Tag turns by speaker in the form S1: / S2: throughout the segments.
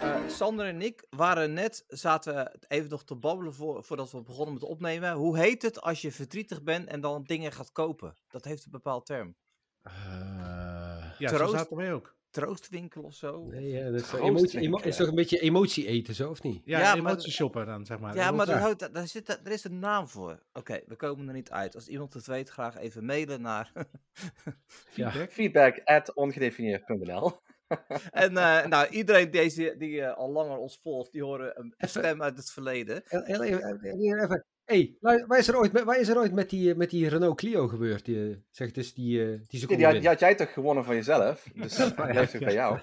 S1: Eh, Sander en ik waren net, zaten even nog te babbelen voor, voordat we begonnen met opnemen. Hoe heet het als je verdrietig bent en dan dingen gaat kopen? Dat heeft een bepaald term.
S2: Eh, ja,
S1: Troost.
S2: zo zaten wij ook.
S1: Troostwinkel of zo?
S3: Nee, ja, dat is, eh,
S1: Groot
S3: emotie,
S1: drinken,
S3: emo- is toch een beetje emotie eten, zo of niet?
S2: Ja,
S1: Ja, maar-
S2: emotie shoppen dan, zeg maar.
S1: Ja, maar
S2: Emotie-
S1: dat houdt, daar, zit, daar is een naam voor. Oké, we komen er niet uit. Als iemand het weet, graag even mailen naar.
S2: feedback.
S4: Feedback at ongedefinieerd.nl.
S1: en eh, nou, iedereen deze, die eh, al langer ons volgt, die horen een
S3: Even-
S1: stem uit het verleden.
S3: Heel- heel Even, heel even. Hey, lu- waar is er ooit, met- waar is er ooit met, die, eh, met die Renault Clio gebeurd? Die, zeg dus die, eh, die ze
S4: Die,
S3: konden
S4: die had,
S3: winnen?
S4: die had jij toch gewonnen van jezelf? Dus die blijft toch bij jou.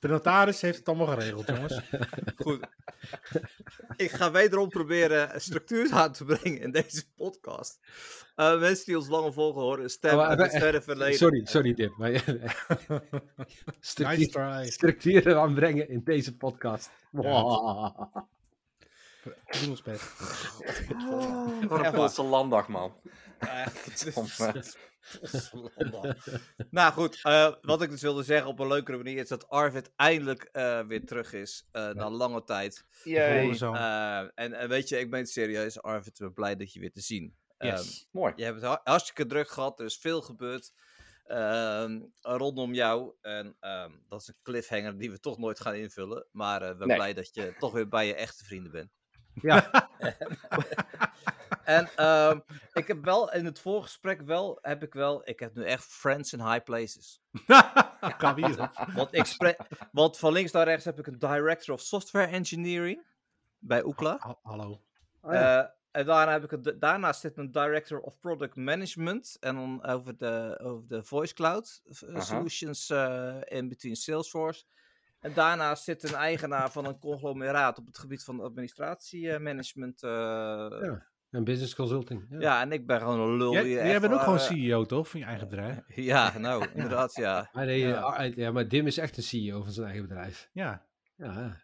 S2: De notaris heeft het allemaal geregeld, jongens.
S1: Goed. Ik ga wederom proberen structuur aan te brengen in deze podcast. Eh, mensen die ons langer volgen horen een stem
S3: Oh, maar
S1: uit het
S3: eh,
S1: verre verleden.
S3: Sorry, sorry Dip. Maar,
S2: nice
S3: structuur,
S2: try.
S3: structuur aanbrengen in deze podcast.
S2: Ja.
S3: Wow.
S2: We doen ons best.
S1: Oh,
S4: Oh,
S1: Echt waar.
S4: Onze landdag, man.
S1: Eh, het is-
S4: Godverdomme.
S1: Godverdomme. nou goed, eh, wat ik dus wilde zeggen op een leukere manier is dat Arvid eindelijk eh, weer terug is eh, na lange tijd.
S2: Volgende
S4: Jee.
S2: zoon.
S1: Eh, en, en weet je, ik ben serieus, Arvid, we blij dat je weer te zien. Ehm,
S2: Yes.
S4: Mooi.
S1: Je hebt het ha- hartstikke druk gehad. Er is veel gebeurd ehm, rondom jou. En ehm, dat is een cliffhanger die we toch nooit gaan invullen. Maar eh, we zijn
S4: Nee.
S1: blij dat je toch weer bij je echte vrienden bent.
S3: Ja.
S1: en ehm, ik heb wel in het voorgesprek wel, heb ik wel, ik heb nu echt friends in high places. Ah.
S2: Kan we hier.
S1: Want, ik spre- want van links naar rechts heb ik een director of software engineering bij Oekla.
S2: Ha- Hallo.
S3: Oh ja.
S1: Eh, en daarna heb ik het, daarnaast zit een director of product management. En dan over de, over de voice cloud eh,
S4: Aha.
S1: solutions eh, in between Salesforce. En daarnaast zit een eigenaar van een conglomeraat op het gebied van eh, administratiemanagement. ja.
S3: En business consulting. Ja.
S1: ja, en ik ben gewoon een lul.
S2: Jij,
S1: die
S2: jij
S1: echt
S2: bent ook
S1: waar,
S2: gewoon E
S1: eh,
S2: CEO, toch? Van je eigen bedrijf?
S1: Ja, nou, inderdaad, ja.
S3: Ah, nee, eh,
S1: Ja.
S3: ah, ja, maar Dim is echt een CEO van zijn eigen bedrijf.
S2: Ja.
S3: Ja,
S4: Jij
S2: Overlijk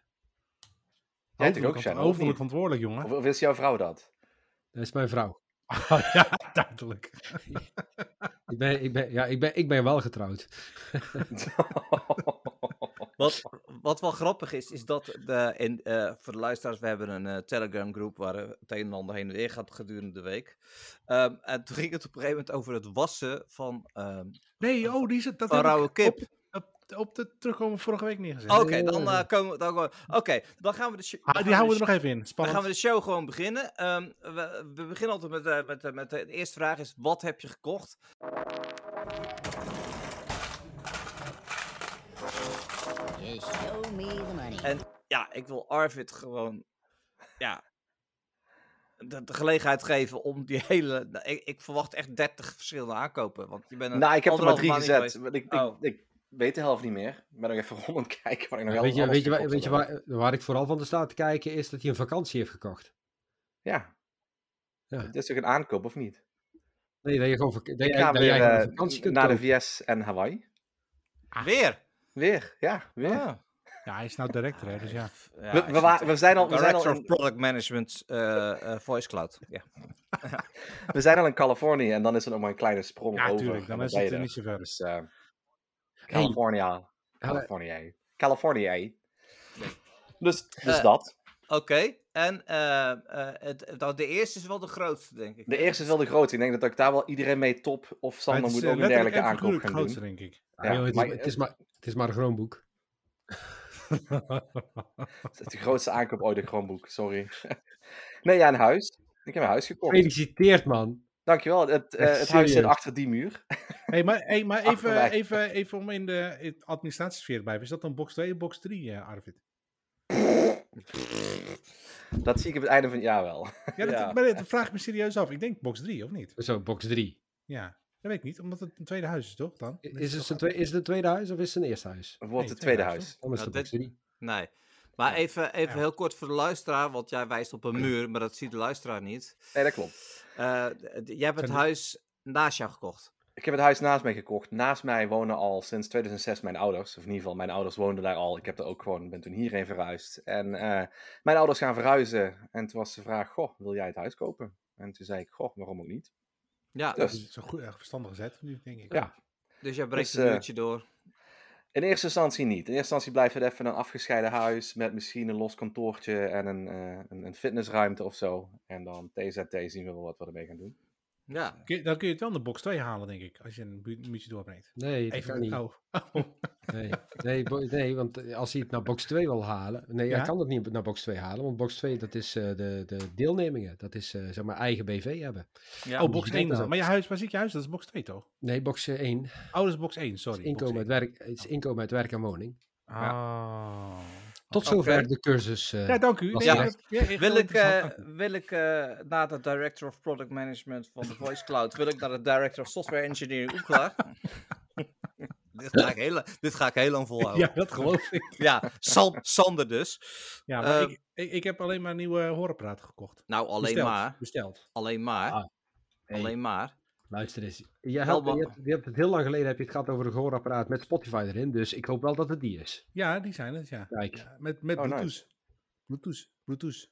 S4: natuurlijk ook,
S2: verantwoordelijk,
S4: Shannon, of
S2: Overlijk
S4: niet?
S2: verantwoordelijk, jongen.
S4: Of, of is jouw vrouw dat?
S3: dat is mijn vrouw.
S2: ja, duidelijk.
S3: Ik ben, ik ben, ja, ik ben, ik ben wel getrouwd.
S1: Wat, wat wel grappig is, is dat de, en, eh, voor de luisteraars, we hebben een eh, Telegram groep waar eh, het een en ander heen en weer gaat gedurende de week. Ehm, en toen ging het op een gegeven moment over het wassen van, ehm,
S2: Nee, oh, die zit... Dat
S1: van
S2: heb ik
S1: rauwe kip.
S2: Op, op, op de terugkomen vorige week neergezet.
S1: Oké, dan eh, komen we dan gewoon. Oké, dan gaan we de show.
S2: Ah, die houden we er nog even in.
S1: Dan gaan
S2: Spannend.
S1: we dus- de show gewoon beginnen. Ehm, we, we beginnen altijd met, eh, met, eh, met eh, de eerste vraag is, wat heb je gekocht?
S5: Just show me the money.
S1: En ja, ik wil Arvid gewoon, ja, de, de gelegenheid geven om die hele... nou, Ik, ik verwacht echt 30 verschillende aankopen, want je bent een
S4: nou, ik heb er maar
S1: eh, anderhalve
S4: drie
S1: maand niet
S4: gezet.
S1: geweest.
S4: want Ik,
S1: Oh.
S4: ik, ik weet de helft niet meer. Ik ben nog even rond aan het kijken wat ik nog
S3: Weet
S4: alles-
S3: je,
S4: alles
S3: weet je, waar,
S4: gekocht
S3: weet je
S4: heb.
S3: waar, waar ik vooral van de sta te kijken is dat hij een vakantie heeft gekocht.
S4: Ja.
S3: Ja.
S4: Het is toch een aankoop, of niet?
S3: Nee, dat je gewoon, vak- dat jij,
S4: Ik ga
S3: dat
S4: weer
S3: jij gewoon
S4: eh,
S3: vakantie kunt
S4: naar de
S3: kopen.
S4: VS en Hawaii.
S1: Weer?
S4: Weer, ja, weer.
S1: Ja.
S2: Ja, hij is nou director, hè, dus ja.
S1: Ja,
S4: we,
S1: ik
S4: we,
S1: zit-
S4: wa- we zijn al, we zijn
S1: Director
S4: al
S1: of
S4: in,
S1: Product Management eh, eh, Voice Cloud. Ja.
S4: we zijn al in Californië en dan is het nog maar een kleine sprong
S2: Ja,
S4: over.
S2: tuurlijk.
S4: en
S2: Dan
S4: dan
S2: is
S4: ben
S2: het
S4: je
S2: er
S4: er.
S2: niet zo ver.
S4: Dus, eh, California. California. California. Dus, dus
S1: Eh,
S4: dat.
S1: Oké, en eh, eh, het, nou, de eerste is wel de grootste, denk ik.
S4: De e- eerste is wel de grootste. Ik denk dat ik daar wel iedereen mee top. Of
S2: Maar
S4: Sander
S2: het is,
S4: moet
S2: eh,
S4: ook een
S2: letterlijk
S4: dergelijke
S2: en
S4: aankoop
S2: figuurlijk
S4: gaan
S2: grootste,
S4: doen.
S2: denk ik.
S3: Ja, Ah, joh, het,
S4: maar,
S3: is,
S4: eh,
S3: het, is maar, het is maar een groenboek.
S4: Het is de grootste aankoop ooit, een Chromebook. Sorry. nee, ja, een huis. Ik heb een huis gekocht.
S3: Gefeliciteerd, man.
S4: Dankjewel. Het, eh,
S3: Echt
S4: het huis zit
S3: serieus.
S4: achter die muur.
S2: Hey, maar hey, maar
S4: Achter
S2: even,
S4: mij.
S2: even, even om in de in de administratiesfeer te blijven. Is dat dan box 2 of box 3, eh, Arvid?
S4: Dat zie ik op het einde van het jaar wel.
S2: Ja, dat,
S1: Ja.
S2: Maar dat vraag ik me serieus af. Ik denk box 3, of niet?
S3: Zo, box 3.
S2: Ja, dat weet ik niet. Omdat het een tweede huis is, toch? Dan?
S3: Is het, zijn tweede, is het een tweede huis of is het een eerste huis?
S4: Het
S2: Nee,
S4: wordt het
S2: tweede
S4: tweede
S2: huis,
S4: huis.
S3: Dan is
S1: Nou,
S3: het
S1: dit-
S3: box 3.
S1: Nee. Maar even, even
S2: Ja.
S1: heel kort voor de luisteraar, want jij wijst op een muur, maar dat ziet de luisteraar niet.
S4: Nee, dat klopt.
S1: Eh, d- d- jij hebt het
S2: Zijn de-
S1: huis naast jou gekocht.
S4: Ik heb het huis naast mij gekocht. Naast mij wonen al sinds 2006 mijn ouders. Of in ieder geval, mijn ouders woonden daar al. Ik heb er ook gewoon, ben toen hierheen verhuisd. En eh, mijn ouders gaan verhuizen. En toen was de vraag, goh, wil jij het huis kopen? En toen zei ik, goh, waarom ook niet?
S1: Ja,
S4: Dus
S2: Dat is een goed, eh, verstandige zet nu, denk ik.
S4: Ja.
S1: dus jij breekt
S4: Dus,
S1: een
S4: eh,
S1: muurtje door.
S4: In eerste instantie niet. In eerste instantie blijft het even een afgescheiden huis met misschien een los kantoortje en een, eh, een, een fitnessruimte of zo. En dan TZT zien we wel wat we ermee gaan doen.
S1: Ja.
S2: Kun je- dan kun je het wel in de box 2 halen, denk ik. Als je een bu- muurtje doorbreekt.
S3: Nee, dat kan
S2: Even
S3: niet.
S2: oh.
S3: Nee. Nee, bo- nee, want eh, als hij het naar box 2 wil halen. Nee,
S2: Ja?
S3: hij kan het niet naar box 2 halen. Want box 2, dat is eh, de, de deelnemingen. Dat is eh, zeg maar eigen BV hebben.
S1: ja.
S2: oh,
S3: moet
S2: box
S3: je
S2: 1 is dat.
S3: weten.
S2: Maar je huis, waar zit je huis? Dat is box 2 toch?
S3: Nee, box 1.
S2: Oh, dat is box Oh. 1, sorry.
S3: is inkomen, uit
S2: box
S3: werk, het is inkomen uit werk en woning.
S2: één. Ah.
S3: Tot zover de cursus. eh,
S2: Ja, dank u.
S3: was
S1: ja.
S2: dat- ja, echt
S1: Wil ik,
S2: heel interessant.
S1: eh, wil ik eh, na de Director of Product Management van de Voice Cloud, wil ik naar de Director of Software Engineering Oekla. dit, ga ik heel, la- dit ga ik heel lang
S3: eh,
S1: volhouden.
S2: Ja, dat geloof ik.
S1: Ja, San- Sander dus.
S2: Ja, maar
S1: Ehm,
S2: ik, ik, ik heb alleen maar een nieuwe horrorpraat gekocht.
S1: Nou, alleen
S2: Besteld,
S1: maar.
S2: Besteld.
S1: Alleen maar.
S3: Ah, hey.
S1: Alleen maar.
S3: Luister eens. Jij had,
S1: Wel,
S3: je,
S1: wa-
S3: hebt, je hebt het heel lang geleden heb je het gehad over een gehoorapparaat met Spotify erin. Dus ik hoop wel dat het die is.
S2: Ja, die zijn het, ja.
S3: Kijk.
S2: Ja, met met
S4: Oh, nice.
S2: Bluetooth. Bluetooth. Bluetooth.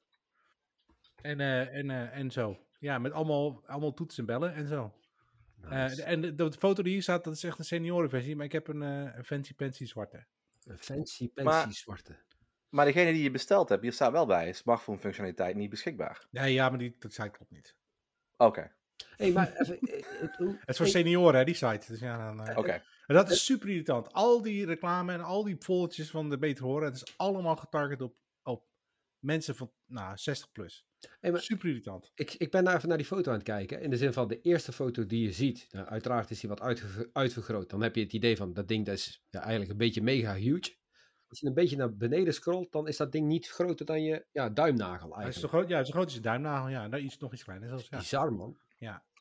S2: En, eh, en, eh, en zo. Ja, met allemaal, allemaal toetsen en bellen en zo. Eh,
S3: Nice.
S2: en de, de foto die hier staat, dat is echt een seniorenversie. Maar ik heb een eh, een fancy pansy zwarte.
S3: Een fancy, fancy
S4: Maar-
S3: zwarte.
S4: Maar degene die je besteld hebt, hier staat wel bij, smartphone functionaliteit niet beschikbaar.
S2: Nee, ja, maar die, dat site klopt niet.
S4: Oké,
S3: hey, maar even, eh, het- hoe-
S2: Het is voor
S3: hey,
S2: senioren, hè, die site. Dus ja, dan, eh,
S4: oké.
S2: En dat is super irritant. Al die reclame en al die foldertjes van de Beter Horen, het is allemaal getarget op, op mensen van nou, 60 plus.
S3: hey, maar
S2: Super irritant.
S3: ik, ik ben nou even naar die foto aan het kijken. In de zin van de eerste foto die je ziet. Nou, uiteraard is die wat uitge- uitvergroot. Dan heb je het idee van dat ding dat is ja, eigenlijk een beetje mega huge. Als je een beetje naar beneden scrolt, dan is dat ding niet groter dan je ja, duimnagel
S2: Hij is zo
S3: eigenlijk.
S2: groot, ja, hij is zo groot als je duimnagel. Ja, nou, iets, nog iets kleiner zelfs. Ja.
S3: Bizar man.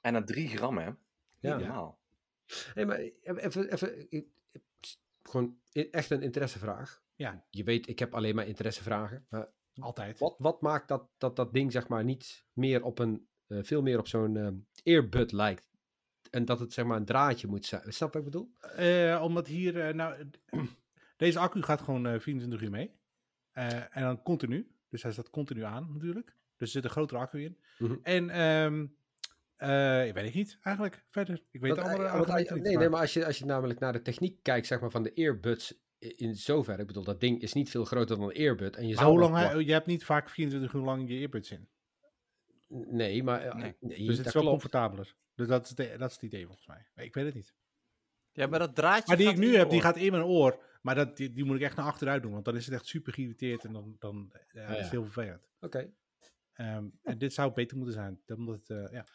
S4: En na 3 gram, hè? Niet
S3: Ja.
S4: normaal.
S3: Nee, maar even, even ik- ik- pst, gewoon e- echt een interessevraag.
S2: Ja.
S3: Je weet, ik heb alleen maar interessevragen. Maar
S2: Altijd.
S3: wat, wat maakt dat, dat dat ding zeg maar niet meer op een, eh, veel meer op zo'n ehm, earbud lijkt? En dat het zeg maar een draadje moet zijn. Snap wat ik bedoel?
S2: Eh, omdat hier, eh, nou, deze accu gaat gewoon eh, 24 uur mee. Eh, en dan continu. Dus hij staat continu aan natuurlijk. Dus er zit een grotere accu in.
S3: Mhm.
S2: En ehm eh, ik weet het niet eigenlijk verder. Ik weet
S3: Want,
S2: de andere
S3: eh, want als-
S2: argumenten niet,
S3: nee, nee,
S2: maar-
S3: maar als je, als je namelijk naar de techniek kijkt zeg maar, van de earbuds i- in zoverre. Ik bedoel, dat ding is niet veel groter dan een earbud. En je
S2: Maar
S3: zou
S2: hoe
S3: nog
S2: lang, hij- oh,
S3: wel-
S2: je hebt niet vaak 24 uur lang je earbuds in.
S3: Nee, maar... eh,
S1: Nee.
S3: nee,
S2: Dus het
S3: dat
S2: is wel
S3: klopt.
S2: comfortabeler. Dus dat is, de, dat is het idee volgens mij. Maar Ik weet het niet.
S1: Ja, maar dat draadje.
S2: Maar die ik
S1: gaat in
S2: nu
S1: je
S2: heb, die
S1: oor.
S2: gaat in mijn oor. Maar dat, die, die moet ik echt naar achteruit doen. Want dan is het echt super geïrriteerd. En dan, dan eh, ja, dat is
S3: Oh, ja.
S2: heel vervelend.
S3: Oké,
S2: Ehm, en dit zou beter moeten zijn. Dat Omdat het, eh, ja,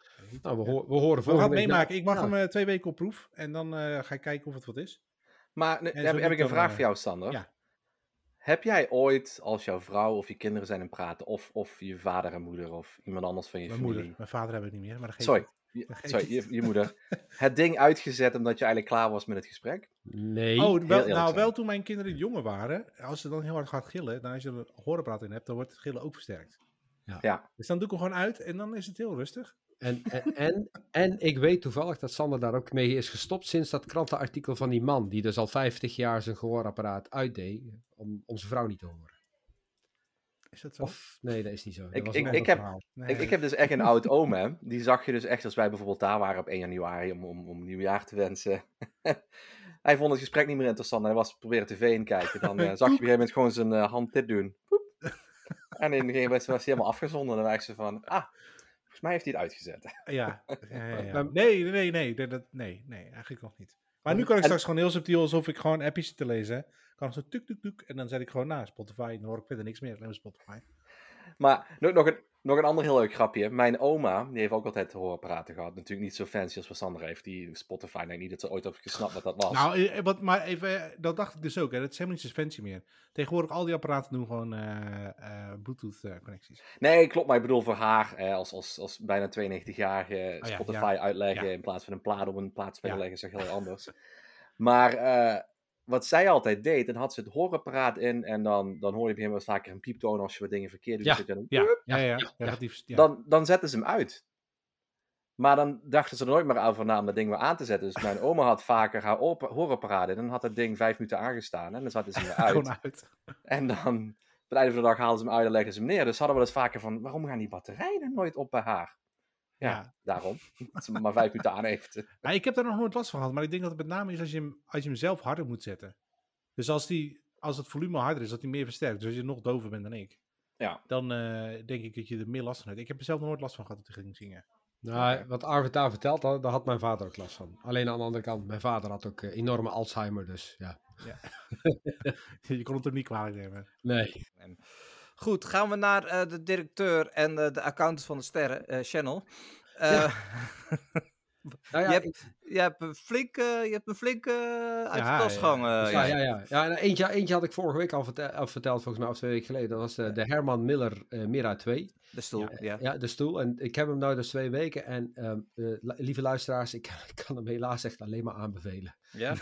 S3: nou, we,
S2: Ja.
S3: hoor- we horen
S2: We
S3: volgende
S2: gaan het
S3: week na-
S2: meemaken. Ik mag
S3: Ja.
S2: hem eh, twee weken op proef. En dan eh, ga ik kijken of het wat is.
S4: Maar nu,
S2: zo
S4: heb, heb
S2: niet
S4: ik een
S2: dan,
S4: vraag
S2: eh,
S4: voor jou, Sander.
S2: ja.
S4: Heb jij ooit, als jouw vrouw of je kinderen zijn aan het praten, of, of je vader en moeder of iemand anders van je
S2: Mijn
S4: familie...
S2: moeder. Mijn vader hebben we niet meer. Maar dat geeft
S4: Sorry,
S2: niet.
S4: je-
S2: Dat geeft
S4: sorry
S2: niet.
S4: je, je moeder. Het ding uitgezet omdat je eigenlijk klaar was met het gesprek?
S3: Nee.
S2: Oh, wel,
S4: eerlijk
S2: nou
S4: zijn.
S2: wel toen mijn kinderen jonger waren. Als ze dan heel hard gaat gillen. Dan als je er horenpraat in hebt. Dan wordt het gillen ook versterkt.
S4: Ja.
S2: Dus dan doe ik hem gewoon uit. En dan is het heel rustig.
S3: En, en, en, en ik weet toevallig dat Sander daar ook mee is gestopt sinds dat krantenartikel van die man, die dus al 50 jaar zijn gehoorapparaat uitdeed, om onze vrouw niet te horen.
S2: Is dat zo?
S3: Of, nee, dat is niet zo. Dat
S4: Ik-
S3: was
S4: ik-
S3: een
S4: ik
S3: ander
S4: heb-
S3: verhaal.
S2: Nee,
S4: Ik, ik heb dus echt een oud oom, hè. Die zag je dus echt als wij bijvoorbeeld daar waren op 1 januari om, om, om nieuwjaar te wensen. hij vond het gesprek niet meer interessant. Hij was proberen tv in kijken. Dan eh, zag je op een gegeven moment gewoon zijn eh, hand dit doen. Poep. en in een gegeven moment was hij helemaal afgezonden. En dan dacht ze van, ah, volgens mij heeft hij het uitgezet.
S2: Ja. ja, ja, ja.
S3: Maar-
S2: Nee, nee, nee, nee, dat, nee, nee, eigenlijk nog niet. Maar nu kan ik
S4: En-
S2: straks gewoon heel subtiel, alsof ik gewoon appjes zit te lezen. Kan ik zo tuk, tuk, tuk. En dan zet ik gewoon na Spotify. Dan hoor ik verder niks meer. Alleen maar Spotify.
S4: Maar nog, nog, een, nog een ander heel leuk grapje. Mijn oma, die heeft ook altijd hoorapparaten gehad. Natuurlijk niet zo fancy als wat Sander heeft. Die Spotify, ik denk niet dat ze ooit heeft gesnapt wat dat was.
S2: Nou, eh, wat, maar even, eh, dat dacht ik dus ook. Hè. Dat is helemaal niet zo fancy meer. Tegenwoordig, al die apparaten doen gewoon eh, Bluetooth-connecties.
S4: Nee, klopt. Maar ik bedoel voor haar eh, als, als, als bijna 92-jarige
S2: Oh ja,
S4: Spotify uitleggen
S2: ja.
S4: in plaats van een plaat op een plaatspeler
S2: Ja.
S4: leggen, is toch heel anders. maar eh, wat zij altijd deed, dan had ze het hoorapparaat in en dan, dan hoor je op een gegeven moment vaker een pieptoon als je wat dingen verkeerd doet.
S3: Ja,
S4: Dus dan,
S2: ja, ja, ja,
S3: ja,
S2: ja,
S3: ja.
S2: ja, die- ja.
S4: Dan, dan zetten ze hem uit. Maar dan dachten ze er nooit meer over na om dat ding weer aan te zetten. Dus mijn oma had vaker haar op- hoorapparaat in en had dat ding vijf minuten aangestaan en dan zat ze hem weer uit.
S2: Gewoon uit.
S4: En dan, op het einde van de dag haalden ze hem uit en legden ze hem neer. Dus hadden we dus vaker van, waarom gaan die batterijen nooit op bij haar? Ja,
S2: Ja.
S4: daarom. Dat ze hem maar vijf minuten aan heeft.
S2: Maar ik heb daar nog nooit last van gehad. Maar ik denk dat het met name is als je hem, als je hem zelf harder moet zetten. Dus als, die, als het volume harder is, dat die meer versterkt. Dus als je nog dover bent dan ik,
S4: Ja.
S2: dan eh, denk ik dat je er meer last van hebt. Ik heb er zelf nog nooit last van gehad dat ik ging zingen.
S3: Nou, wat Arvid daar vertelt, daar, daar had mijn vader ook last van. Alleen aan de andere kant, mijn vader had ook eh, enorme Alzheimer, dus ja.
S2: je kon het hem niet kwalijk nemen.
S3: Nee.
S1: Goed, gaan we naar eh, de directeur en eh, de accountant van de sterren, eh, Channel. Eh,
S3: Nou ja,
S1: Je hebt-
S3: ik-
S1: je, hebt een flink, eh, je hebt een flinke eh, uit
S2: Ja,
S1: de kast
S2: ja.
S1: gehangen,
S3: ja,
S1: Jan.
S3: ja, ja. ja en eentje, eentje had ik vorige week al vertel- al verteld, volgens mij, of twee weken geleden. Dat was de, de Herman Miller eh, Mira 2.
S1: De stoel, ja.
S3: Ja, de stoel. En ik heb hem nu dus twee weken. En ehm, eh, lu- lieve luisteraars, ik, ik kan hem helaas echt alleen maar aanbevelen. Oh,
S1: Ja.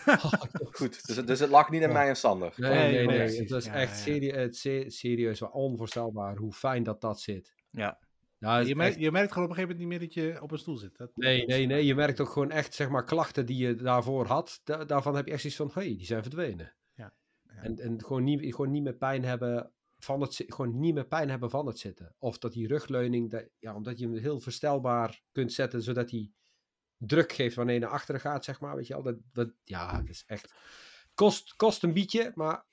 S4: Goed, dus, het- dus het lag niet aan
S2: Ja.
S4: mij en Sander.
S3: Nee,
S2: Nee,
S3: nee, nee.
S2: nee,
S3: Het
S2: precies.
S3: was
S2: Ja,
S3: echt
S2: ja.
S3: serie- het se- serieus wel onvoorstelbaar hoe fijn dat dat zit.
S1: Ja.
S3: Nou, het
S2: Je
S3: is
S2: merkt,
S3: echt-
S2: je merkt gewoon op een gegeven moment niet meer dat je op een stoel zit. Dat,
S3: nee, nee, nee. Je merkt ook gewoon echt, zeg maar, klachten die je daarvoor had. da- daarvan heb je echt iets van, hey, die zijn verdwenen.
S2: Ja, ja.
S3: En, en gewoon, niet, gewoon niet meer pijn hebben van het zi- gewoon niet meer pijn hebben van het zitten. Of dat die rugleuning, dat, ja, omdat je hem heel verstelbaar kunt zetten, zodat hij druk geeft wanneer je naar achteren gaat, zeg maar. Weet je wel, dat, dat, ja, het is echt... Kost, kost een bietje, maar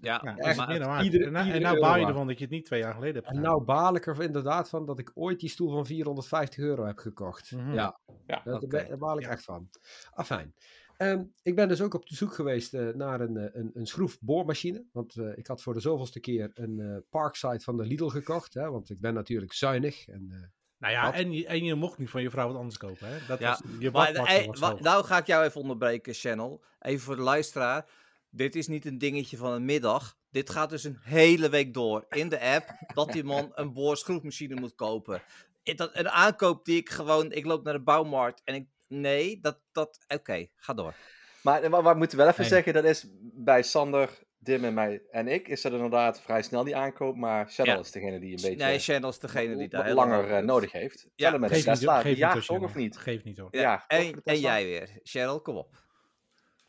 S1: Ja,
S2: Ja,
S1: maar
S2: echt
S1: het-
S2: meer dan waard.
S3: iedere-
S2: en, nou- en
S3: iedere
S2: nou
S3: euro
S2: baal je
S3: waard.
S2: ervan dat je het niet twee jaar geleden hebt
S3: En nou baal ik er inderdaad van dat ik ooit die stoel van 450 euro heb gekocht.
S2: Mhm.
S3: Ja,
S4: Ja,
S3: daar,
S1: oké.
S3: ben- daar baal ik
S2: Ja.
S3: echt van. Afijn. Ehm, ik ben dus ook op zoek geweest eh, naar een, eh, een, een schroefboormachine. Want eh, ik had voor de zoveelste keer een eh Parkside van de Lidl gekocht. Hè, want ik ben natuurlijk zuinig. En, eh,
S2: Nou ja,
S3: Wat?
S2: en je, en je mocht niet van je vrouw wat anders kopen. Hè? Dat
S1: Ja,
S2: was, je
S1: Maar,
S2: badpak
S1: eh,
S2: was
S1: wa-
S2: hoog.
S1: nou ga ik jou even onderbreken, Channel. Even voor de luisteraar. Dit is niet een dingetje van een middag. Dit gaat dus een hele week door in de app dat die man een boorschroefmachine moet kopen. Ik- Dat, een aankoop die ik gewoon, ik loop naar de bouwmarkt en ik, nee, dat, dat, oké, ga door.
S4: Maar eh, wa- wat we moeten wel even
S2: Nee.
S4: zeggen, dat is bij Sander, Dim en mij en ik, is dat inderdaad vrij snel die aankoop, maar Shadow
S1: Ja.
S4: is degene die een beetje eh,
S1: Nee, Channel is degene die
S4: wat
S1: daar heel
S4: langer
S1: over
S4: eh,
S1: doet.
S4: nodig heeft. Ja, met de
S2: Geef niet,
S4: Tesla,
S2: hoor, geef
S4: ja
S2: niet, hoor,
S4: toch of
S2: jongen.
S4: niet?
S2: Geef niet hoor.
S1: Ja,
S4: Ja, toch voor
S1: en,
S4: de
S1: en
S4: Tesla?
S1: jij weer. Cheryl, kom op.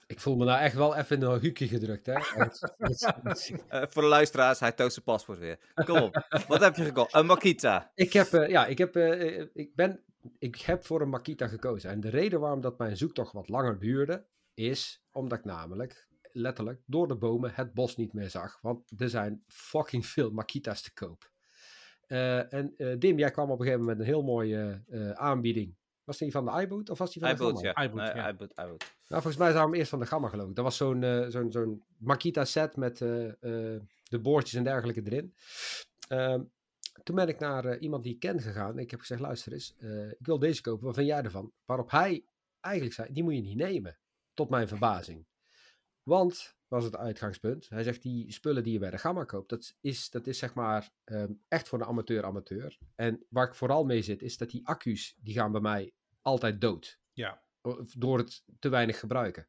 S3: ik voel me nou echt wel even in een hukje gedrukt. Hè? Want-
S1: Eh, voor de luisteraars, hij toont zijn paspoort weer. Kom op. Wat heb je gekocht? Een Makita.
S3: ik, heb, eh, ja, ik, heb, eh, eh, ik, ben, ik heb voor een Makita gekozen. En de reden waarom dat mijn zoektocht wat langer duurde, is omdat ik namelijk letterlijk door de bomen het bos niet meer zag. Want er zijn fucking veel Makita's te koop. Eh, en eh, Dim, jij kwam op een gegeven moment met een heel mooie eh, aanbieding. Was die van de iBoot of was die van
S1: Hij
S3: de
S1: boet,
S3: Gamma?
S1: ja.
S2: iBoot,
S1: Nee,
S2: ja.
S1: iBoot, iBoot.
S3: Nou, volgens mij zou hem eerst van de Gamma geloof ik. Dat was zo'n eh, zo'n zo'n Makita set met eh, eh, de boordjes en dergelijke erin. Ehm, toen ben ik naar eh, iemand die ik ken gegaan. En ik heb gezegd, luister eens, eh, ik wil deze kopen. Wat vind jij ervan? Waarop hij eigenlijk zei, die moet je niet nemen. Tot mijn verbazing. Want, was het uitgangspunt, hij zegt, die spullen die je bij de Gamma koopt, dat is, dat is zeg maar ehm, echt voor de amateur-amateur. En waar ik vooral mee zit, is dat die accu's, die gaan bij mij altijd dood
S2: Ja.
S3: of door het te weinig gebruiken.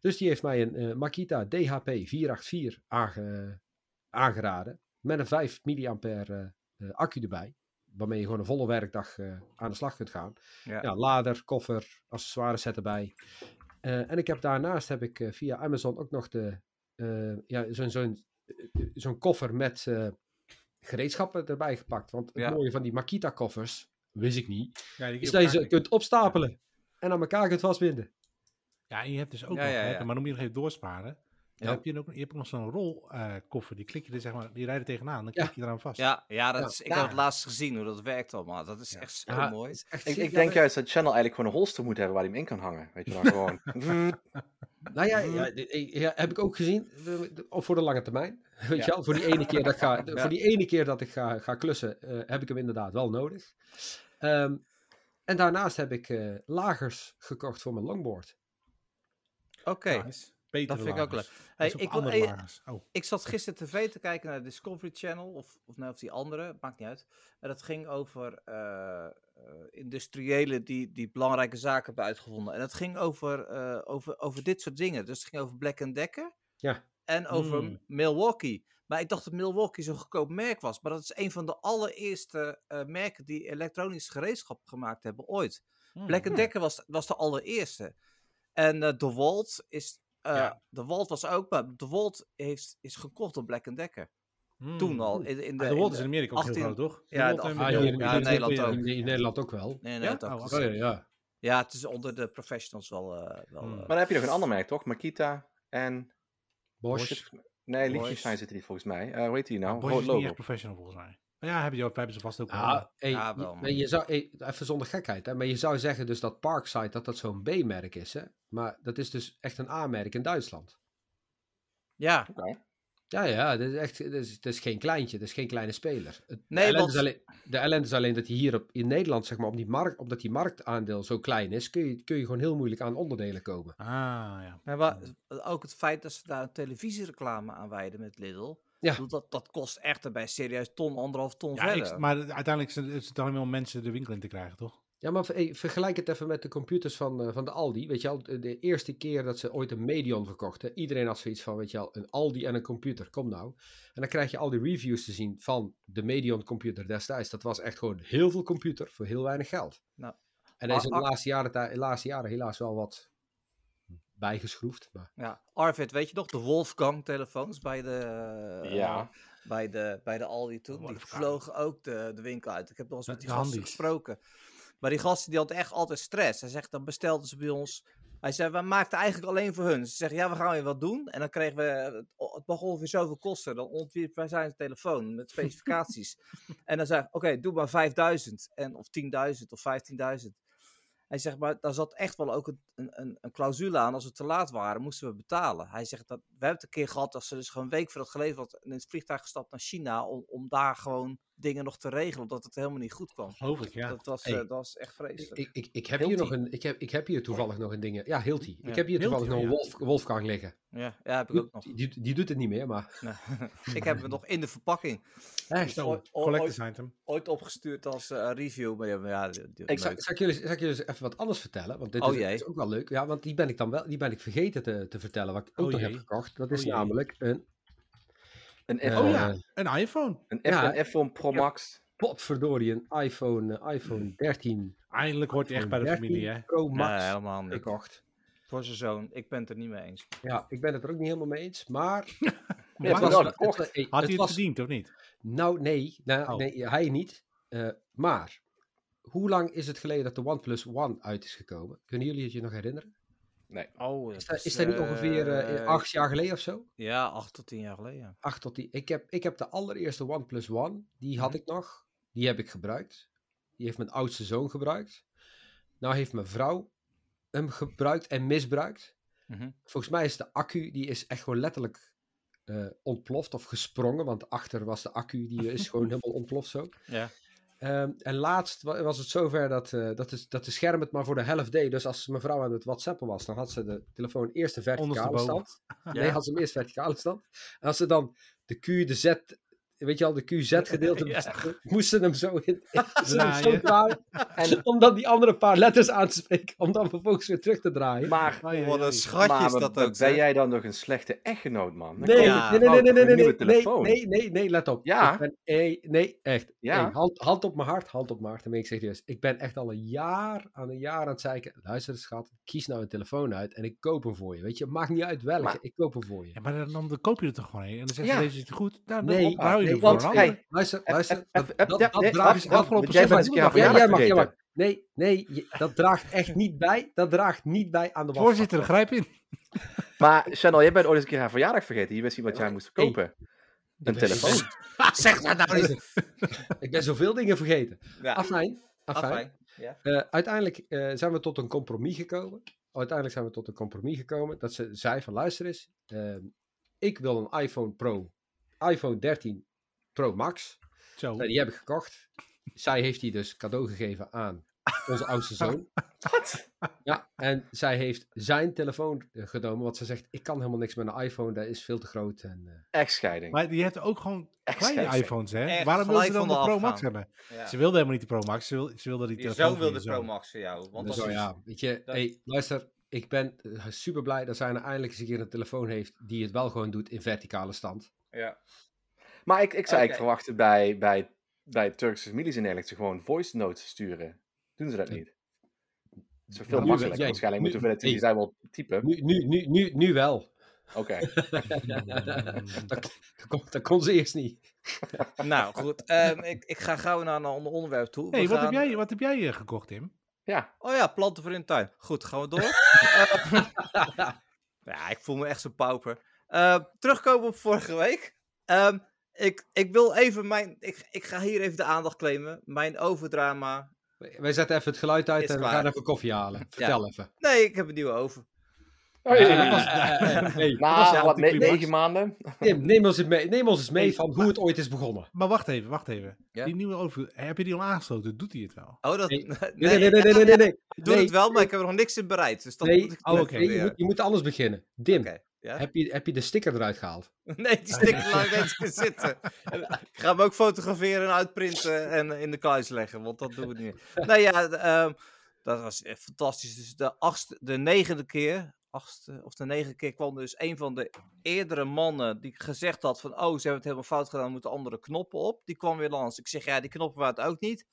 S3: Dus die heeft mij een eh, Makita DHP 484 aange- aangeraden. Met een 5 mAh accu erbij. Waarmee je gewoon een volle werkdag eh, aan de slag kunt gaan.
S1: Ja.
S3: Ja. lader, koffer, accessoires set erbij. Eh, en ik heb daarnaast heb ik eh, via Amazon ook nog de, eh, ja, zo'n zo'n eh, zo'n koffer met eh, gereedschappen erbij gepakt. Want het
S1: Ja.
S3: mooie van die Makita koffers, wist ik niet,
S2: Ja, die
S3: is
S2: kun je
S3: dat je
S2: op
S3: ze
S2: elkaar
S3: kunt opstapelen en aan elkaar kunt vastbinden.
S2: Ja, en je hebt dus ook
S1: Ja,
S2: nog,
S1: ja,
S2: hè,
S1: ja.
S2: maar dan moet je nog even doorsparen. Dan
S3: Ja.
S2: heb je, ook, je hebt ook nog zo'n rolkoffer, die klik je er zeg maar, die rijden tegenaan, dan
S3: Ja.
S2: klik je eraan vast.
S1: Ja, ja, dat
S3: Ja,
S1: is, ik
S3: ja.
S1: had het laatst gezien hoe dat werkt allemaal. Dat is echt zo mooi.
S3: is Ah, echt
S4: Ik,
S3: ziek,
S4: ik
S3: ja,
S4: denk
S3: dat-
S4: juist dat Channel eigenlijk gewoon een holster moet hebben waar hij hem in kan hangen. Weet je dan gewoon.
S1: Mhm.
S3: Nou ja, ja, d- ik- ja, heb ik ook gezien. de- de- Of voor de lange termijn. Weet je wel, voor die ene keer dat ik ga, de-
S1: Ja.
S3: voor die ene keer dat ik ga, ga klussen, eh, heb ik hem inderdaad wel nodig. Ehm, en daarnaast heb ik eh, lagers gekocht voor mijn longboard.
S1: Oké,
S2: Nice. Betere
S1: dat vind ik ook
S2: lagers.
S1: leuk.
S2: Dat
S1: Hey,
S2: is op
S1: ik, wil,
S2: andere
S1: eh,
S2: lagers. Oh,
S1: ik zat gisteren tv te kijken naar Discovery Channel, of, of, nou, of die andere, maakt niet uit. En dat ging over eh, eh, industriëlen die, die belangrijke zaken hebben uitgevonden. En dat ging over, eh, over, over dit soort dingen. Dus het ging over Black Decker
S3: Ja.
S1: en over
S2: Mm.
S1: Milwaukee. Maar ik dacht dat Milwaukee zo'n goedkoop merk was. Maar dat is een van de allereerste eh, merken die elektronisch gereedschap gemaakt hebben ooit.
S2: Mm.
S1: Black Decker was, was de allereerste. En eh De Walt is. eh,
S2: Ja.
S1: De Walt was ook. Maar De Walt heeft, is gekocht door Black Decker.
S2: Hmm.
S1: Toen al.
S2: Ah,
S1: In, in de,
S2: De
S1: in
S2: Walt
S1: de-
S2: is in Amerika ook
S1: 18
S2: heel groot, toch?
S1: Ja,
S2: Walt
S1: de- Ah,
S2: en Milwaukee.
S1: hier- ja, in Nederland
S2: ja,
S1: ook.
S3: In, in Nederland ook wel.
S1: Nee, nee,
S2: Ja?
S1: dat ook.
S2: Oh,
S1: Dus-
S2: oké.
S3: ja, ja.
S1: Ja, het is onder de professionals wel. eh, wel
S2: Hmm.
S1: eh,
S4: Maar dan heb je nog een ander merk, toch? Makita en
S3: Bosch.
S2: Bosch.
S4: Nee,
S1: Boys.
S4: Liechtenstein zit er niet volgens mij. Eh hoe heet die nou?
S2: Bosch
S4: Rood
S2: is niet
S4: logo.
S2: echt professional volgens mij. Maar ja, hebben, die ook, hebben ze vast ook wel.
S3: Ah, hey,
S1: Ja,
S3: je-
S1: wel, man.
S3: maar je zou, hey, even zonder gekheid, hè, maar je zou zeggen dus dat Parkside dat dat zo'n B-merk is, hè? Maar dat is dus echt een A-merk in Duitsland.
S1: Ja,
S3: Ja, ja, dat is echt, dat is, dat is geen kleintje, dat is geen kleine speler. Het-
S1: Nee,
S3: de, ellende
S1: want-
S3: is alleen, de ellende is alleen dat hij hier op, in Nederland, zeg maar, op die markt, omdat die marktaandeel zo klein is, kun je, kun je gewoon heel moeilijk aan onderdelen komen.
S2: Ah, ja.
S1: maar wa- ook het feit dat ze daar een televisiereclame aan wijden met Lidl.
S3: Ja.
S1: ik bedoel, Dat, dat kost echt erbij serieus ton, anderhalf ton
S2: ja
S1: verder.
S2: ik, maar uiteindelijk zijn- is het dan wel mensen de winkel in te krijgen, toch?
S3: Ja, maar hey, vergelijk het even met de computers van, eh, van de Aldi. Weet je al, de eerste keer dat ze ooit een Medion verkochten, iedereen had zoiets van, weet je al, een Aldi en een computer, kom nou. En dan krijg je al die reviews te zien van de Medion computer destijds. Dat was echt gewoon heel veel computer voor heel weinig geld.
S1: Nou,
S3: en daar is in de
S1: maar-
S3: laatste jaren, ta- de laatste jaren helaas wel wat bijgeschroefd. Maar
S1: Ja, Arvid, weet je nog? De Wolfgang-telefoons bij de, eh,
S4: Ja.
S1: bij de, bij de Aldi toen. Die
S2: Wolfgang.
S1: vlogen ook de, de winkel uit. Ik heb nog eens met die
S2: De
S1: gasten
S2: handies.
S1: gesproken. Maar die gasten die hadden echt altijd stress. Hij zegt, dan bestelden ze bij ons. Hij zei, we maakten eigenlijk alleen voor hun. Ze zeggen, ja, we gaan weer wat doen. En dan kregen we, het- het mag ongeveer zoveel kosten. Dan ontwierp wij zijn telefoon met specificaties. en dan zei hij, oké, doe maar 5000. En, of 10.000 of 15.000. Hij zegt, maar daar zat echt wel ook een, een, een- een clausule aan. Als we te laat waren, moesten we betalen. Hij zegt, dat, we hebben het een keer gehad dat ze dus gewoon een week voor het geleverd had in het vliegtuig gestapt naar China. Om, om daar gewoon dingen nog te regelen, omdat het helemaal niet goed kwam.
S2: Geloof ik, ja.
S1: Dat, was,
S3: Hey.
S1: eh, dat was echt vreselijk.
S3: ik, ik, ik, heb
S2: Hilti.
S3: hier nog een, ik, heb, ik heb hier toevallig nog een ding. Ja, Hilti.
S1: Ja,
S3: Ik heb hier toevallig
S2: Hilti,
S3: nog
S2: oh
S3: een Wolf, Wolfgang liggen.
S1: ja, ja, heb ik ook nog.
S3: Die, die, die doet het niet meer, maar...
S1: Nee. ik heb het nog in de verpakking.
S3: Echt?
S2: Zo,
S1: ooit- ooit-
S2: collectors item.
S1: Ooit opgestuurd als eh, review. Maar ja, maar ja, die- die-
S3: Ik zal,
S1: leuk.
S3: zal ik jullie, zal ik jullie eens even wat anders vertellen? Want dit
S1: Oh
S3: is,
S1: jee.
S3: is ook wel leuk. Ja, want die ben ik dan wel, die ben ik vergeten te, te vertellen wat ik ook
S2: Oh
S3: nog
S2: jee.
S3: heb gekocht. Dat
S2: Oh
S3: is
S2: jee.
S3: namelijk een,
S4: Een
S3: eh,
S4: F,
S2: Oh ja. Een iPhone.
S4: een F,
S3: ja.
S4: een F-phone Pro Max.
S3: potverdorie, een iPhone, eh, iPhone 13.
S2: Eindelijk hoort hij echt bij de
S3: 13
S2: familie, hè?
S3: Pro Max
S1: Nee, helemaal niet.
S3: gekocht.
S1: Voor zijn zoon. Ik ben het er niet mee eens.
S3: Ja, ik ben het er ook niet helemaal mee eens, maar...
S4: Ja,
S2: Maar
S4: het was-
S2: had
S4: wel gekocht.
S3: het- eh,
S2: hij het
S3: was-
S2: verdiend, of niet?
S3: Nou, nee. Nou,
S2: Oh.
S3: nee hij niet. Eh, maar, hoe lang is het geleden dat de OnePlus One uit is gekomen? Kunnen jullie het je nog herinneren?
S1: Oh,
S3: Is dat, is dat niet ongeveer eh, acht jaar geleden of zo?
S1: Ja, acht tot tien jaar geleden. ja.
S3: acht tot die. Ik heb, ik heb de allereerste OnePlus One. Die had ik nog. Die heb ik gebruikt. Die heeft mijn oudste zoon gebruikt. Nou heeft mijn vrouw hem gebruikt en misbruikt.
S1: Mhm.
S3: Volgens mij is de accu, die is echt gewoon letterlijk eh, ontploft of gesprongen. Want achter was de accu, die is gewoon helemaal ontploft zo.
S1: Ja.
S3: Ehm, en laatst wa- was het zover dat, eh, dat, de, dat de scherm het maar voor de helft deed. Dus als mijn vrouw aan het whatsappen was, dan had ze de telefoon eerst een verticale
S2: Ondersteboven.
S3: stand. Nee, had ze hem eerst verticale stand. En als ze dan de Q, de Z, weet je al, de QZ-gedeelte,
S1: Ja.
S3: moesten hem zo in. moesten hem zo
S2: Draaien.
S3: draaien.
S4: En-
S3: om dan die andere paar letters aan te spreken, om dan vervolgens weer terug te draaien.
S4: Maar,
S2: Oh, ja,
S1: Wat
S2: ja,
S1: een
S2: ja.
S1: schatje
S4: maar
S1: is dat ook.
S4: ben
S1: zeg.
S4: jij dan nog een slechte echtgenoot, man? Dan
S3: Nee,
S4: koop
S1: Ja.
S3: nee, nee,
S4: ik
S3: nee, nee,
S4: een
S3: nee,
S4: nieuwe
S3: nee, nee,
S4: telefoon.
S3: nee, nee, nee, let op.
S4: Ja.
S3: Ik ben, nee, nee, echt.
S4: Ja.
S3: Nee, hand, hand op mijn hart, hand op mijn hart. Dan ben ik serieus. Ik ben echt al een jaar aan een jaar aan het zeiken. Luister, schat, kies nou een telefoon uit en ik koop hem voor je. Weet je, maakt niet uit welke,
S4: Maar-
S3: ik koop hem voor je.
S2: Ja, maar dan, dan koop je er toch gewoon een. En dan zeg je,
S4: Ja.
S2: deze is niet goed. Nou, dan
S3: Nee,
S2: nee, hou je
S3: nee,
S2: er
S4: Want,
S2: voor
S4: hey,
S2: aan.
S3: Luister,
S4: Ep-
S3: luister.
S4: ep- ep- ep-
S3: dat-
S4: ja,
S3: dat
S4: nee,
S3: draagt-
S4: af-
S3: dat-
S4: afgelopen
S2: dat-
S4: zondag
S2: dat-
S4: is een keer
S2: Ja,
S4: haar
S3: Ja,
S4: verjaardag
S3: jij mag, jij mag.
S4: vergeten.
S3: Nee, nee, je- dat draagt echt niet bij. Dat draagt niet bij aan de was.
S2: Voorzitter, grijp in.
S4: Maar Chanel, jij bent ooit eens een keer haar verjaardag vergeten. Je wist niet wat jij moest
S3: Hey.
S4: kopen. Een
S3: ben-
S4: telefoon.
S1: Zeg dat nou niet.
S3: Ik ben zoveel dingen vergeten.
S1: Ja.
S3: Afijn. afijn.
S1: Afijn.
S3: Eh, uiteindelijk eh, zijn we tot een compromis gekomen. Uiteindelijk zijn we tot een compromis gekomen. Dat ze zei van luister eens. ehm, ik wil een iPhone Pro. iPhone 13 Pro Max.
S2: Zo.
S3: Nou, die heb ik gekocht. Zij heeft die dus cadeau gegeven aan onze oudste zoon.
S4: Wat?
S3: Ja, en zij heeft zijn telefoon eh, genomen. Want ze zegt, ik kan helemaal niks met een iPhone. Dat is veel te groot. En, eh,
S4: Echtscheiding.
S2: Maar die heeft ook gewoon
S4: Echt
S2: kleine
S4: scheef.
S2: iPhones, hè?
S1: Echt,
S2: Waarom wil ze
S1: gelijk
S2: dan
S1: van
S2: de
S1: de
S2: Pro
S1: afgaan.
S2: Max hebben?
S1: Ja.
S2: Ze wilde helemaal niet de Pro Max. Ze wilde, ze wilde die
S1: Je
S2: telefoon
S1: zoon
S2: van
S1: wilde
S2: je
S1: de Pro Max voor jou. Want
S3: dus
S1: als
S3: zo,
S1: je-
S3: ja, weet je,
S1: dat-
S3: hey, luister, ik ben super blij dat zij nou eindelijk eens een keer een telefoon heeft die het wel gewoon doet in verticale stand.
S1: Ja.
S4: Maar ik, ik zou eigenlijk
S1: Oké.
S4: verwachten bij, bij, bij Turkse families in Nederland ze gewoon voice notes sturen. Doen ze dat niet? Het is toch veel
S3: Nu wel,
S4: makkelijker.
S3: ja.
S4: Waarschijnlijk
S3: Nu-
S4: moeten we dat
S3: nee.
S4: die zij wel typen.
S3: Nu, nu, nu, nu, nu wel.
S4: Oké.
S3: dat, kon, dat kon ze eerst niet.
S1: Nou goed, ehm, ik, ik ga gauw naar een ander onderwerp toe. We
S2: hey, wat,
S1: gaan-
S2: heb jij, wat heb jij eh, gekocht, Tim?
S4: Ja.
S1: Oh ja, planten voor in de tuin. Goed, gaan we door. Eh, ja, ik voel me echt zo'n pauper. Eh, terugkomen op vorige week. Ehm, ik, ik wil even mijn. Ik, ik ga hier even de aandacht claimen. Mijn overdrama.
S3: Wij zetten even het geluid uit
S1: Is
S3: en we
S1: klaar.
S3: gaan even koffie halen. Vertel even.
S1: Nee, ik heb een nieuwe over.
S3: Eh, eh, eh, hey,
S4: Na
S2: ja,
S4: wat, ne-
S2: anticlimax.
S4: negen maanden?
S3: Tim, neem ons eens mee, neem ons eens mee
S2: Hey,
S3: van hoe het ooit is begonnen.
S2: Maar wacht even, wacht even.
S1: Ja?
S2: Die nieuwe over... Heb je die al aangesloten? Doet hij het wel?
S1: Oh, dat.
S3: Nee.
S1: Nee,
S3: Nee, nee, nee, nee, nee. nee, nee.
S1: Ik doe
S3: Nee,
S1: het wel, maar ik heb er nog niks in bereid. Dus dat
S3: Nee,
S1: moet ik
S2: oh,
S1: nog
S2: oké.
S3: nee, je,
S1: proberen.
S3: moet, je moet anders beginnen. Dim,
S1: Oké, ja.
S3: heb, je, heb je de sticker eruit gehaald?
S1: Nee, die sticker laat ik eens gaan zitten. eh, Ik ga hem ook fotograferen en uitprinten en eh, in de kluis leggen, want dat doen we niet meer. Nou ja, de, ehm, dat was eh, fantastisch. Dus de, achtste, de negende keer, achtste of de negende keer kwam dus een van de eerdere mannen die gezegd had van, oh, ze hebben het helemaal fout gedaan, moeten andere knoppen op. Die kwam weer langs. Ik zeg, ja, die knoppen waren het ook niet.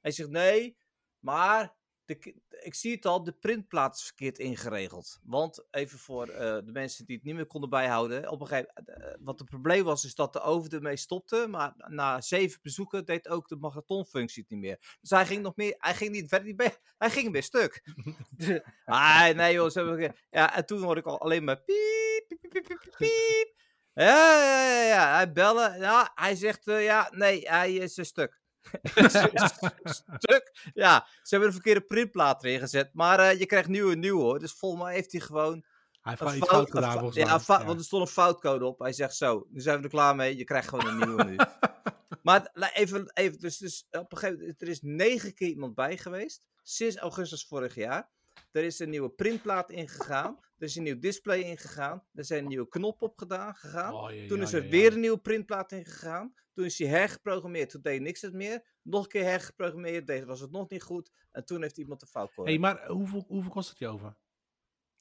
S1: Hij zegt, nee, maar de, ki- ik zie het al, de printplaats is verkeerd ingeregeld. Want even voor eh, de mensen die het niet meer konden bijhouden. Op een gegeven eh, wat het probleem was, is dat de oven ermee stopte. Maar na zeven bezoeken deed ook de marathonfunctie het niet meer. Dus hij ging nog meer, hij ging niet verder, niet bij- hij ging weer stuk. ah, nee joh, ze hebben, ge- ja, en toen hoorde ik al alleen maar piep, piep, piep, piep, piep, piep. Ja, ja, ja, ja, hij bellen. Ja, hij zegt, eh, ja, nee, hij is een stuk. stuk. Ja, ze hebben een verkeerde printplaat erin gezet. Maar eh, je krijgt nu een nieuwe hoor. Dus volgens mij heeft hij gewoon
S2: Hij heeft
S1: een
S2: wel iets fout
S1: een
S2: gedaan
S1: fa-
S2: volgens
S1: ja,
S2: mij.
S1: een fout- want er stond een foutcode op. Hij zegt zo, nu zijn we er klaar mee. Je krijgt gewoon een nieuwe nu. Maar la- even, even dus, dus op een gegeven moment, er is negen keer iemand bij geweest. Sinds augustus vorig jaar. Er is een nieuwe printplaat ingegaan. Er is een nieuw display ingegaan. Er zijn nieuwe knoppen op gedaan, gegaan.
S2: Oh, ja,
S1: Toen
S2: ja,
S1: is
S2: ja,
S1: er
S2: ja.
S1: weer een nieuwe printplaat ingegaan. Toen is hij hergeprogrammeerd. Toen deed niks het meer. Nog een keer hergeprogrammeerd. Deze was het nog niet goed. En toen heeft iemand de fout
S2: hey,
S1: correct.
S2: maar hoeveel, hoeveel kost het je over?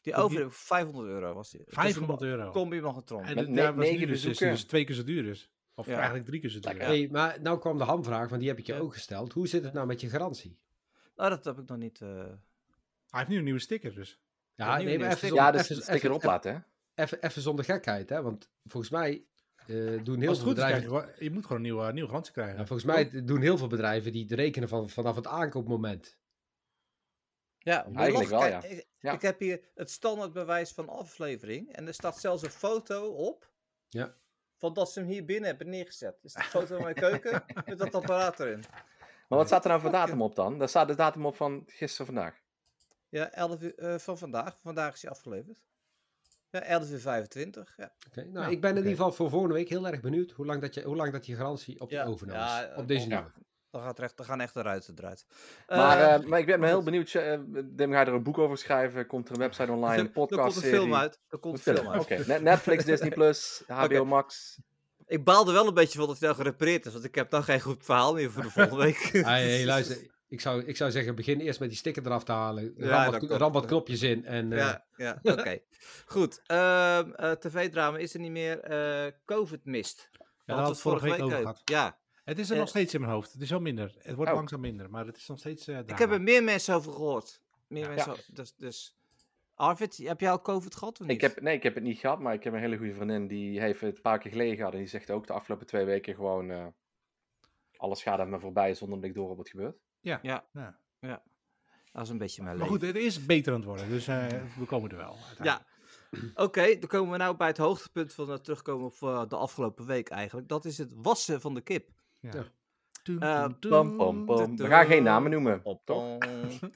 S1: die over 500 euro was die.
S2: 500 euro.
S1: Combi magnetron.
S2: En
S4: Met
S2: dat
S4: ne-
S2: daar was
S4: negen
S2: nu dus, dus,
S4: bezoeken.
S2: dus twee keer zo duur is. Of
S1: Ja.
S2: eigenlijk drie keer zo duur.
S4: Lekker.
S2: is.
S3: Hey, maar nou kwam de hamvraag, want die heb ik je
S1: Ja.
S3: ook gesteld. Hoe zit het nou met je garantie?
S1: Nou, dat heb ik nog niet. eh,
S2: Hij heeft nu een nieuwe sticker dus.
S3: Ja,
S1: nieuwe
S3: nee, maar
S1: nieuwe
S3: even,
S1: sticker.
S3: zonder-
S4: Ja, dus
S3: even-
S4: sticker
S3: even-
S4: oplaten, hè?
S3: Even, even zonder gekheid, hè? Want volgens mij eh, doen heel
S2: Als
S3: veel
S2: het goed is,
S3: bedrijven...
S2: krijg je, wel- je moet gewoon een nieuwe, nieuwe garantie krijgen.
S3: Nou, volgens mij
S1: Oh.
S3: doen heel veel bedrijven die rekenen van, vanaf het aankoopmoment.
S1: Ja, maar
S4: eigenlijk
S1: lach,
S4: wel,
S1: kijk,
S4: ja.
S1: Ik,
S4: Ja.
S1: ik heb hier het standaardbewijs van aflevering. En er staat zelfs een foto op.
S3: Ja.
S1: Van dat ze hem hier binnen hebben neergezet. Dus de foto van mijn keuken met dat apparaat erin.
S4: Maar wat staat er nou voor
S1: Fucking-
S4: datum op dan? Daar staat de datum op van gisteren vandaag.
S1: Ja, 11 uur eh, van vandaag. Vandaag is hij afgeleverd. Ja, 11 uur 25. Ja,
S3: Oké, nou,
S2: Nou,
S3: ik ben in
S2: oké.
S3: ieder geval voor volgende week heel erg benieuwd hoe lang dat je, hoe lang dat je garantie op de
S1: Ja,
S3: overname
S1: ja,
S3: is.
S1: eh,
S3: Op deze
S1: ja.
S3: nieuwe.
S1: dan, gaat recht, dan gaan echt de ruiten eruit.
S4: Maar,
S1: Eh,
S4: eh, maar ik ben me heel benieuwd. eh, Dim, ga je er een boek over schrijven? Komt er een website online? Een
S1: er komt
S4: podcast
S1: een film uit. Er komt een film uit.
S4: Netflix, Disney+, Plus, HBO
S1: Oké.
S4: Max.
S1: Ik baalde wel een beetje van dat hij nou gerepareerd is. Want ik heb dan geen goed verhaal meer voor de volgende week.
S3: Hey, hey, luister, ik zou, ik zou zeggen, begin eerst met die sticker eraf te halen.
S1: Ja,
S3: ram,
S1: dat
S3: wat,
S1: klopt.
S3: ram wat knopjes in. En, eh,
S1: Ja, ja oké. Goed. ehm, eh, TV-drama is er niet meer. eh COVID-mist.
S2: daar hadden we het vorige week over gehad.
S1: Ja,
S2: Het is er
S1: eh,
S2: nog steeds in mijn hoofd. Het is wel minder. Het wordt
S4: Oh.
S2: langzaam minder, maar het is nog steeds eh,
S1: ik
S2: drama.
S1: heb er meer mensen over gehoord. Meer
S4: Ja.
S1: mensen over- Dus, dus. Arvid, heb jij al COVID gehad of niet?
S4: Ik heb, nee, ik heb het niet gehad, maar ik heb een hele goede vriendin. Die heeft het een paar keer geleden gehad. En die zegt ook de afgelopen twee weken gewoon... eh, alles gaat aan me voorbij zonder dat ik door heb wat gebeurt.
S2: Ja.
S1: Dat is een beetje mijn
S2: Maar
S1: leven.
S2: goed, het is beter aan het worden, dus eh, we komen er wel. uiteindelijk.
S1: Ja. Oké, dan komen we nou bij het hoogtepunt van het terugkomen op eh, de afgelopen week eigenlijk. Dat is het wassen van de kip.
S2: Ja. Toen,
S1: Eh,
S2: toen, toen.
S4: Pam, pam, pam. We gaan geen namen noemen, toch?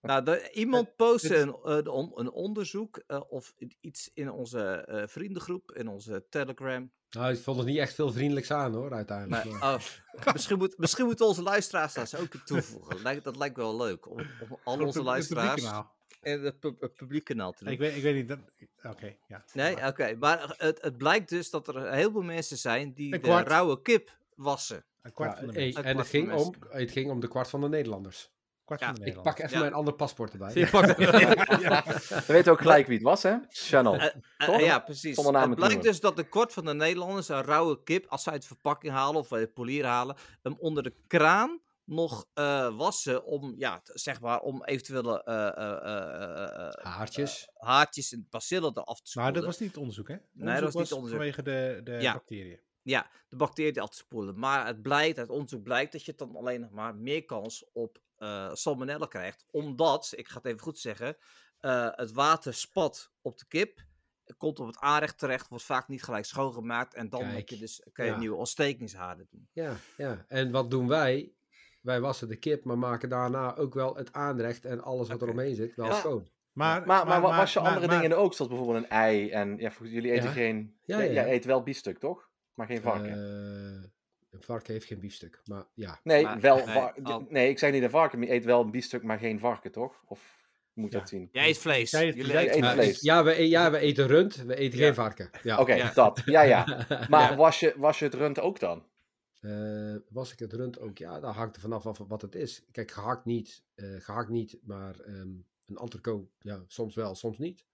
S1: nou, de- iemand postte een, eh, de on- een onderzoek eh, of iets in onze eh, vriendengroep, in onze Telegram.
S3: Nou, ik vond het niet echt veel vriendelijks aan hoor, uiteindelijk.
S1: Maar,
S3: Maar-
S1: oh, misschien, moet, misschien moeten onze luisteraars daar ze ook in toevoegen. Lijkt, dat lijkt wel leuk. Om, om al onze
S2: Voor het pub- het publieke
S1: luisteraars
S2: nou.
S1: en het pub- het publiek kanaal te doen.
S2: Ik weet, ik weet niet. dat- Oké, ja.
S1: Nee,
S2: Maar-
S1: oké. Maar het, het blijkt dus dat er heel veel mensen zijn die
S2: Een
S1: de
S2: kwart.
S1: rauwe kip wassen.
S2: Een kwart van de
S3: Ja,
S2: mensen.
S3: hey,
S1: Een
S3: en het
S1: kwart van de
S3: ging, om, het ging om de kwart van de Nederlanders.
S2: Kwart
S1: ja,
S2: van de
S3: Ik
S2: Nederlanders.
S3: pak even
S1: Ja.
S3: mijn ander paspoort erbij.
S1: Je pakt-
S4: We weten ook gelijk wie het was, hè? Channel.
S1: Eh, eh,
S4: Toch?
S1: ja, precies.
S4: Zonder namen
S1: het
S4: te
S1: blijkt
S4: noemen.
S1: dus dat de kwart van de Nederlanders een rauwe kip, als zij het verpakking halen of bij de polier halen, hem onder de kraan nog eh, wassen om, ja, t- zeg maar, om eventuele eh, eh, eh, eh,
S3: Haartjes.
S1: haartjes en bacillen eraf te spoelen.
S2: Maar dat was niet het onderzoek, hè? Het
S1: dat was niet het onderzoek.
S2: Vanwege de, de
S1: Ja.
S2: bacteriën.
S1: Ja, de bacteriën af te spoelen. Maar het blijkt, uit onderzoek blijkt dat je dan alleen nog maar meer kans op eh, salmonella krijgt. Omdat, ik ga het even goed zeggen, eh, het water spat op de kip. komt op het aanrecht terecht, wordt vaak niet gelijk schoongemaakt. En dan
S3: Kijk,
S1: heb je dus, kan je
S3: ja.
S1: nieuwe ontstekingshaarden doen.
S3: Ja, ja. En wat doen wij? Wij wassen de kip, maar maken daarna ook wel het aanrecht en alles wat
S1: Oké.
S3: er omheen zit wel
S4: Ja.
S3: schoon.
S2: Maar,
S4: Maar, maar, wa- was je
S2: maar-
S4: andere
S2: maar-
S4: dingen ook, zoals bijvoorbeeld een ei en ja, volgens- jullie eten
S3: Ja.
S4: geen...
S3: Ja,
S4: jij-
S3: ja, ja.
S4: Jij eet wel biefstuk, toch? Maar geen varken.
S3: Eh, een varken heeft geen biefstuk, maar ja.
S4: nee,
S1: maar-
S4: wel
S1: nee,
S4: var-
S1: oh.
S4: nee, ik zeg niet een varken, maar je eet wel een biefstuk, maar geen varken, toch? Of hoe moet
S2: Ja.
S4: dat zien?
S1: Jij eet vlees.
S2: Jij eet-
S1: Jullie
S2: jij
S1: eten
S4: eet
S1: vlees.
S3: Ja, dus- ja, we, e- ja, we eten rund, we eten
S2: Ja.
S3: geen varken. Ja.
S4: Oké,
S1: Ja.
S4: dat. Ja, ja. Maar Was, je, was je het rund ook dan?
S3: Eh, was ik het rund ook? Ja, dat hangt er vanaf af wat het is. Kijk, gehakt niet, eh, gehakt niet, maar ehm, een entrecote, ja, soms wel, soms niet.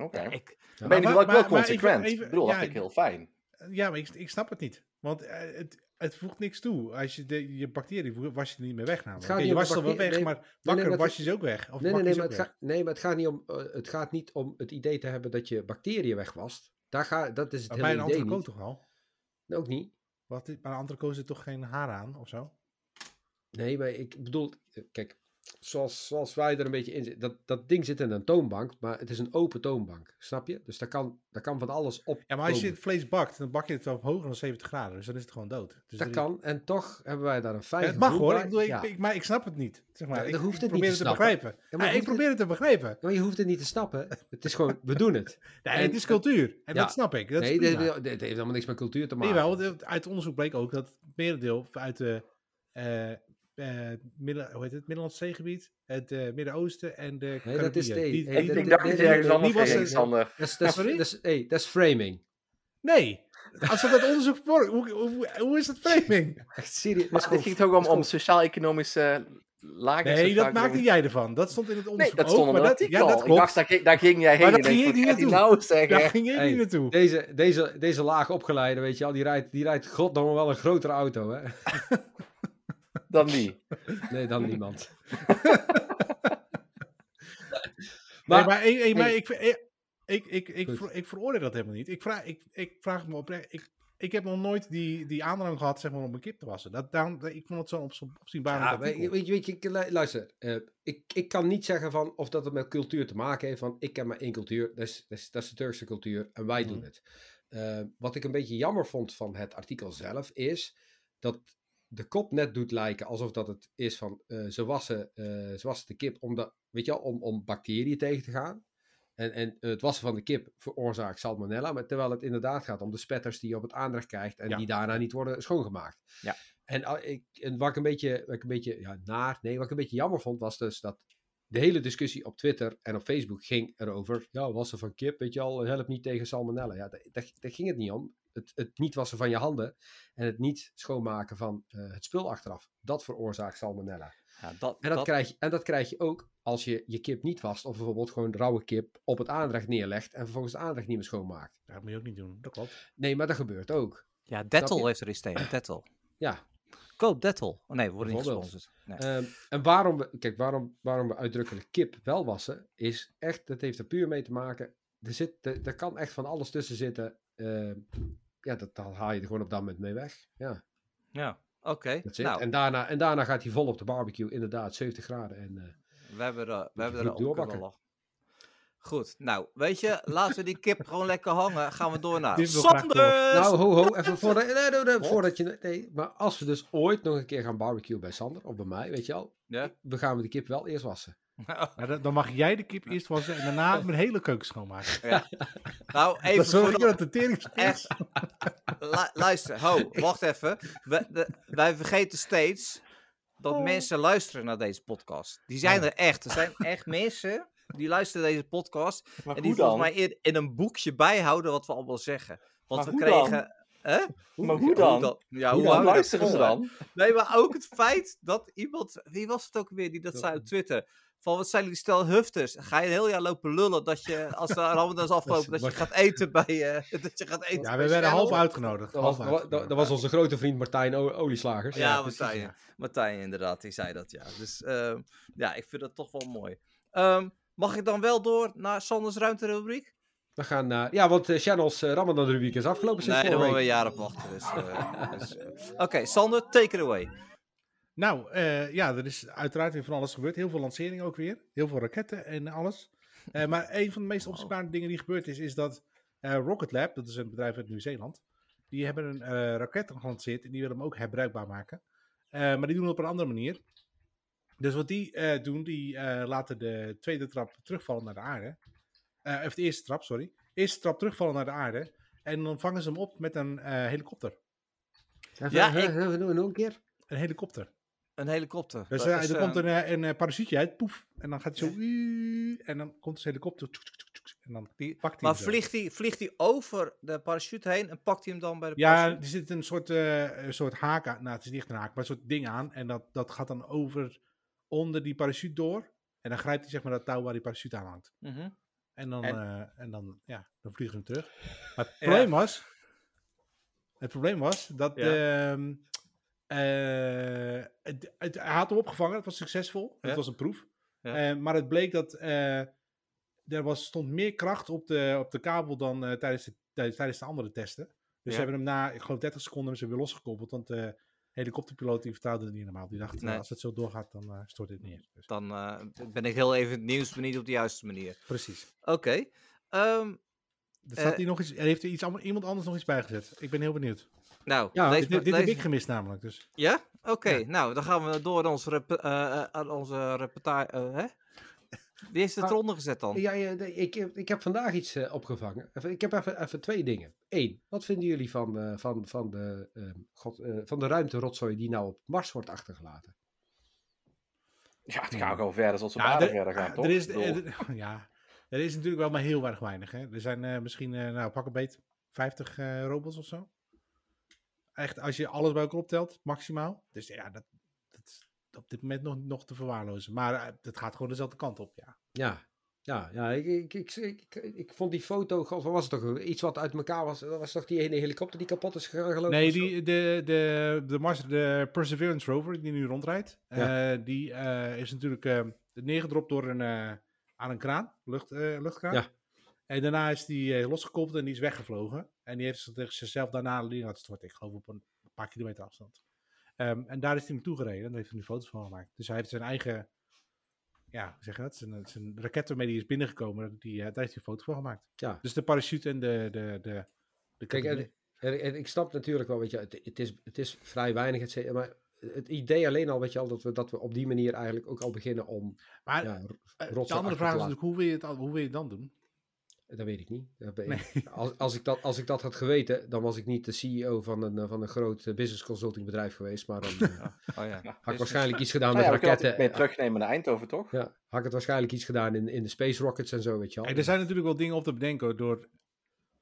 S4: Oké.
S1: Ja, ik,
S4: Dan ben je
S2: Maar-
S4: natuurlijk wel
S2: maar- maar ik wil
S4: consequent.
S2: even-
S4: ik bedoel,
S2: ja,
S4: dat vind ik heel fijn.
S2: Ja, maar ik, ik snap het niet. Want eh, het, het voegt niks toe. Als je de, je bacteriën wo- was je er niet meer weg namelijk.
S3: gaat
S2: Oké,
S3: niet
S2: je
S3: om
S2: was
S3: de
S2: er wel weg,
S3: bacteriën, nee.
S2: maar bakker
S3: maar het-
S2: was je ze ook weg. Of
S3: Nee, nee, nee, maar
S2: ook
S3: het,
S2: weg.
S3: gaat- nee maar het gaat niet om, eh, het gaat niet om het idee te hebben dat je bacteriën wegwast. Daar ga, dat is het
S2: Maar
S3: hele
S2: bij een
S3: idee
S2: andere koot
S3: niet.
S2: toch wel?
S3: Nee, Ook niet.
S2: Wat, bij een andere koot zit toch geen haar aan of zo?
S3: Nee, maar ik bedoel, eh, kijk, zoals, zoals wij er een beetje in zitten, dat, dat ding zit in een toonbank, maar het is een open toonbank, snap je? Dus daar kan, daar kan van alles op.
S2: Ja, maar als je
S3: komen.
S2: het vlees bakt, dan bak je het wel op hoger dan 70 graden. Dus dan is het gewoon dood. Dus
S3: Dat
S2: er-
S3: kan, en toch hebben wij daar een fijn
S2: Ja, het mag
S3: gevoel
S2: hoor,
S3: bij.
S2: ik bedoel, ik,
S3: Ja.
S2: ik- maar ik snap het niet. Zeg maar.
S3: Ja,
S2: ik
S3: dan hoeft het
S2: probeer
S3: niet te
S2: het te
S3: snappen.
S2: begrijpen.
S3: Ja, maar
S2: Ja, ik
S3: hoeft het-
S2: probeer het te begrijpen.
S3: Ja, maar je hoeft het niet te snappen. Het is gewoon, we doen het.
S2: Nee,
S3: En-
S2: het is cultuur. En
S3: Ja.
S2: dat snap ik. Dat
S3: nee,
S2: is
S3: dit,
S2: prima.
S3: dit heeft helemaal niks met cultuur te maken.
S2: Jawel, want uit onderzoek bleek ook dat het merendeel uit de, eh eh, midden, hoe heet het, Middellandse zeegebied, het eh, Midden-Oosten en de
S3: Nee, dat is
S2: Caribiën.
S3: thee.
S2: Die-
S3: Hey,
S2: die-
S4: Ik,
S3: dat-
S4: ik
S2: die-
S4: dacht
S3: nee,
S4: dat je
S3: nee,
S4: ergens
S3: nee,
S4: anders
S2: die was
S4: ging,
S2: het-
S4: Sander.
S3: Dat is, dat is,
S2: Sorry?
S3: dat is- hey, dat is framing.
S2: Nee, als dat uit onderzoek voor, hoe, hoe, hoe is het framing?
S3: Echt serieus.
S4: Maar het ging toch om, om sociaal-economische eh, lagen?
S2: Nee, dat maakte
S4: niet.
S2: jij ervan. Dat stond in het
S4: Nee,
S2: onderzoek
S4: dat
S2: ook,
S4: stond
S2: maar
S4: onder dat,
S2: dat, ja,
S4: artikel.
S2: dat
S4: ik
S2: klopt.
S4: dacht, daar, ging- daar ging jij heen.
S2: Maar
S4: en
S2: daar
S4: ik
S2: ging
S4: denk,
S2: je
S4: wat
S2: niet
S4: gaat hij nou zeggen?
S2: Daar ging je
S3: Hey,
S2: niet naartoe.
S3: Deze, deze, deze laag opgeleide, weet je al, die rijdt, die rijdt goddomme wel een grotere auto, hè?
S4: Dan die.
S3: Nee, dan niemand.
S2: Maar,
S3: maar,
S2: nee, maar, eh, eh, maar
S3: hey.
S2: ik, ver- eh, ik, ik, ik,
S3: Goed.
S2: ver- ik veroordeel dat helemaal niet. Ik vraag, ik, ik vraag me oprecht. Ik, ik heb nog nooit die, die aandrang gehad zeg maar, om een kip te wassen. Dat, daarom, ik vond het zo'n op, opzienbaar.
S3: Ja, weet, je- weet je, weet je, ik- lu- luister, eh, ik, ik kan niet zeggen van of dat het met cultuur te maken heeft, want ik ken maar één cultuur, dat is, dat is, dat is de Turkse cultuur en wij doen
S2: Mhm.
S3: het. Eh, wat ik een beetje jammer vond van het artikel zelf is dat de kop net doet lijken alsof dat het is van eh, ze, wassen, eh, ze wassen de kip om, de, weet je wel, om, om bacteriën tegen te gaan. En, en het wassen van de kip veroorzaakt salmonella, maar terwijl het inderdaad gaat om de spetters die je op het aanrecht krijgt en
S2: Ja.
S3: die daarna niet worden schoongemaakt.
S1: Ja.
S3: En, ah, ik, en wat ik een beetje, wat ik een beetje ja, naar, nee, wat ik een beetje jammer vond, was dus dat de hele discussie op Twitter en op Facebook ging erover. Ja, wassen van kip, weet je al, helpt niet tegen salmonella. Ja, daar, daar- daar ging het niet om. Het, het niet wassen van je handen en het niet schoonmaken van eh, het spul achteraf. Dat veroorzaakt salmonella.
S1: Ja, dat,
S3: En dat, Krijg je, en dat krijg je ook als je je kip niet wast. Of bijvoorbeeld gewoon rauwe kip op het aanrecht neerlegt. En vervolgens het aanrecht niet meer schoonmaakt.
S2: Dat moet je ook niet doen. Dat klopt.
S3: Nee, maar dat gebeurt ook.
S1: ja
S3: Snap
S1: Dettel
S3: je?
S1: heeft er iets tegen. Dettel.
S3: Ja,
S1: Koop Dettel. Oh nee, we worden niet
S3: Bijvoorbeeld.
S1: gesponsord. Nee.
S3: Ehm, en waarom we, kijk, waarom, waarom we uitdrukkelijk kip wel wassen, is echt, dat heeft er puur mee te maken. Er, zit, er, er kan echt van alles tussen zitten. Ehm, ja, dat, dan haal je er gewoon op dat moment mee weg. Ja,
S1: ja, oké.
S3: dat zit.
S1: Nou,
S3: en, daarna, en daarna gaat hij vol op de barbecue, inderdaad, 70 graden. En, eh,
S1: we hebben, eh, we hebben er
S3: goed
S1: ook kunnen
S3: doorbakken.
S1: lachen. Goed, nou, weet je, laten we die kip gewoon lekker hangen. Gaan we door naar
S2: Dit wil ik graag
S1: Sander!
S3: nou, ho, ho, even voordat, nee, nee, nee, voordat je... Nee, maar als we dus ooit nog een keer gaan barbecuen bij Sander, of bij mij, weet je al,
S1: Ja? Nou,
S3: we gaan we de kip wel eerst wassen.
S2: Ja, dan, dan mag jij de kip eerst wassen en daarna mijn hele keuken schoonmaken.
S1: Nou,
S2: Even
S1: even
S2: dat zorg
S1: voor
S2: ik dat de tering
S1: Echt. Lu- luister, ho, wacht even. We- de- wij vergeten steeds dat
S2: Oh.
S1: mensen luisteren naar deze podcast. Die zijn er echt. Er zijn echt mensen die luisteren naar deze podcast.
S4: Maar
S1: en
S4: hoe
S1: die
S4: dan?
S1: volgens mij in, in een boekje bijhouden wat we allemaal zeggen. Want
S4: Maar
S1: we
S4: hoe dan?
S1: kregen. Hè?
S4: Maar hoe dan?
S1: Ja, hoe houden we
S4: Hoe
S1: dat
S4: luisteren ze
S1: vol, hè?
S4: dan?
S1: Nee, maar ook het feit dat iemand. Wie was het ook weer die dat zei op Twitter? Van wat zijn jullie stel hufters? Ga je een heel jaar lopen lullen dat je, als de Ramadan is afgelopen, dat je
S3: Wat-
S1: gaat eten bij. eh, dat je gaat eten
S2: Ja,
S1: bij
S2: we werden
S1: Shell?
S2: half uitgenodigd.
S3: Dat was,
S2: Half
S3: dat,
S2: uitgenodigd.
S3: dat was onze grote vriend Martijn O- Olieslagers.
S1: Ja,
S2: precies,
S1: Martijn,
S2: ja.
S1: Martijn inderdaad, die zei dat ja. Dus ehm, ja, ik vind dat toch wel mooi. Ehm, mag ik dan wel door naar Sanders ruimterubriek?
S3: We gaan naar... Ja, want eh Channels eh, Ramadan rubriek is afgelopen sinds
S1: Nee, daar
S3: vorige
S1: moeten we
S3: week.
S1: een jaar op wachten. Dus, eh, dus, eh. Oké, Sander, take it away.
S2: Nou, eh, ja, er is uiteraard weer van alles gebeurd. Heel veel lanceringen ook weer. Heel veel raketten en alles. Eh, maar een van de meest opzienbarende dingen die gebeurd is, is dat eh, Rocket Lab, dat is een bedrijf uit Nieuw-Zeeland, die hebben een eh, raket gelanceerd en die willen hem ook herbruikbaar maken. Eh, maar die doen het op een andere manier. Dus wat die eh, doen, die eh, laten de tweede trap terugvallen naar de aarde. Eh, of de eerste trap, sorry. Eerste trap terugvallen naar de aarde. En dan vangen ze hem op met een eh, helikopter.
S1: Ja, ik-
S3: Nog een keer.
S2: Een helikopter.
S1: Een helikopter.
S2: Dus
S1: Dat
S2: eh,
S1: is,
S2: er
S1: eh,
S2: komt een, eh, een eh, parachute uit, poef. En dan gaat hij zo... "Uuu", En dan komt zijn helikopter... tjoek, tjoek, tjoek, tjoek, en dan
S1: Die-
S2: pakt hij
S1: Maar
S2: hem zo.
S1: vliegt hij, vliegt hij over de parachute heen en pakt hij hem dan bij de
S2: Ja,
S1: parachute?
S2: er zit een soort, eh, een soort haak aan. Nou, het is niet echt een haak, maar een soort ding aan. En dat, dat gaat dan over onder die parachute door. En dan grijpt hij zeg maar dat touw waar die parachute aan hangt.
S1: Mhm.
S2: En dan,
S4: En-
S2: eh, en dan, ja, dan vliegen we hem terug. Maar het probleem was... Het probleem was dat...
S1: Ja.
S2: ehm, eh, het, het, hij had hem opgevangen, het was succesvol.
S1: Ja.
S2: Het was een proef.
S1: Ja.
S2: Eh, maar het bleek dat eh, er was, stond meer kracht op de, op de kabel dan eh, tijdens, de, tij- tijdens de andere testen. Dus
S1: Ja.
S2: ze hebben hem na, ik geloof 30 seconden, hebben ze weer losgekoppeld. Want de helikopterpiloot die vertrouwde het niet normaal. Die dacht, eh,
S1: Nee.
S2: als het zo doorgaat, dan eh, stort dit neer. Dus,
S1: Dan eh, ben ik heel even in het nieuws, maar niet op de juiste manier.
S2: precies.
S1: Oké. Ehm,
S2: Er, staat
S1: Eh,
S2: hier dus nog iets, er heeft er iets, allemaal- iemand anders nog iets bijgezet. Ik ben heel benieuwd.
S1: nou,
S3: Ja,
S1: lees
S2: Dit, dit
S1: maar-
S2: heb
S1: lees-
S2: ik gemist namelijk. Dus.
S1: Ja? Oké,
S2: Ja.
S1: nou, dan gaan we door aan onze, rep- eh, eh, aan onze reportage. eh, hè? Wie heeft het
S3: Ah,
S1: eronder gezet dan?
S3: Ja, ja, nee, ik, heb- ik heb vandaag iets eh, opgevangen. Even- Ik heb even, even twee dingen. Eén, wat vinden jullie van, eh, van, van, de, ehm, god, eh, van de ruimterotzooi die nou op Mars wordt achtergelaten?
S4: Ja, het gaan gewoon verder zoals we
S2: Ja,
S4: ja,
S2: er-
S4: verder gaan,
S2: ah,
S4: toch?
S2: Er is,
S4: Ik bedoel,
S2: er- ja, er is natuurlijk wel maar heel erg weinig. Hè. Er zijn eh, misschien, eh, nou pak een beet, 50 eh, robots of zo. Echt, als je alles bij elkaar optelt, maximaal. Dus ja, dat, dat is op dit moment nog, nog te verwaarlozen. Maar eh, het gaat gewoon dezelfde kant op, ja.
S3: Ja, ja, ja ik, ik, ik, ik, ik vond die foto, god, wat was het toch? Iets wat uit elkaar was. Dat was toch die ene helikopter die kapot is gegaan geloof ik?
S2: Nee,
S3: of zo?
S2: die, de, de, de, Mars, de Perseverance rover die nu rondrijdt,
S3: Ja.
S2: eh, die eh, is natuurlijk eh, neergedropt door een, eh, aan een kraan, lucht, eh, luchtkraan.
S3: Ja.
S2: En daarna is die eh, losgekoppeld en die is weggevlogen. En die heeft zich- zichzelf daarna neer laten storten, ik geloof op een paar kilometer afstand. Ehm, en daar is hij naartoe gereden en daar heeft hij nu foto's van gemaakt. Dus hij heeft zijn eigen, ja, hoe zeg je dat? Zijn, eh, zijn raket waarmee hij is binnengekomen, die, eh, daar heeft hij een foto van gemaakt.
S3: Ja.
S2: Dus de parachute en de... de, de, de
S3: Kijk, en-
S2: cabine.
S3: En, en ik snap natuurlijk wel, weet je, het, het, is, het is vrij weinig, et cetera, maar het idee alleen al, weet je al, dat we, dat we op die manier eigenlijk ook al beginnen om,
S2: maar
S3: ja,
S2: Eh,
S3: rotzooi
S2: de andere
S3: achter
S2: vraag
S3: te
S2: is natuurlijk, hoe wil je het, al- hoe wil je het dan doen?
S3: dat weet ik niet. Dat ben ik- Als, als, ik dat, als ik dat had geweten, dan was ik niet de CEO van een, eh, van een groot eh, business consulting bedrijf geweest, maar dan eh,
S1: Oh ja.
S3: had ik waarschijnlijk iets gedaan
S4: nou
S3: met
S4: ja, we kunnen
S3: raketten.
S4: het mee
S3: Ja,
S4: terugnemen naar Eindhoven, toch?
S3: had ik het waarschijnlijk iets gedaan in, in de space rockets en zo, weet je al.
S2: Kijk, er zijn natuurlijk wel dingen op te bedenken hoor, door,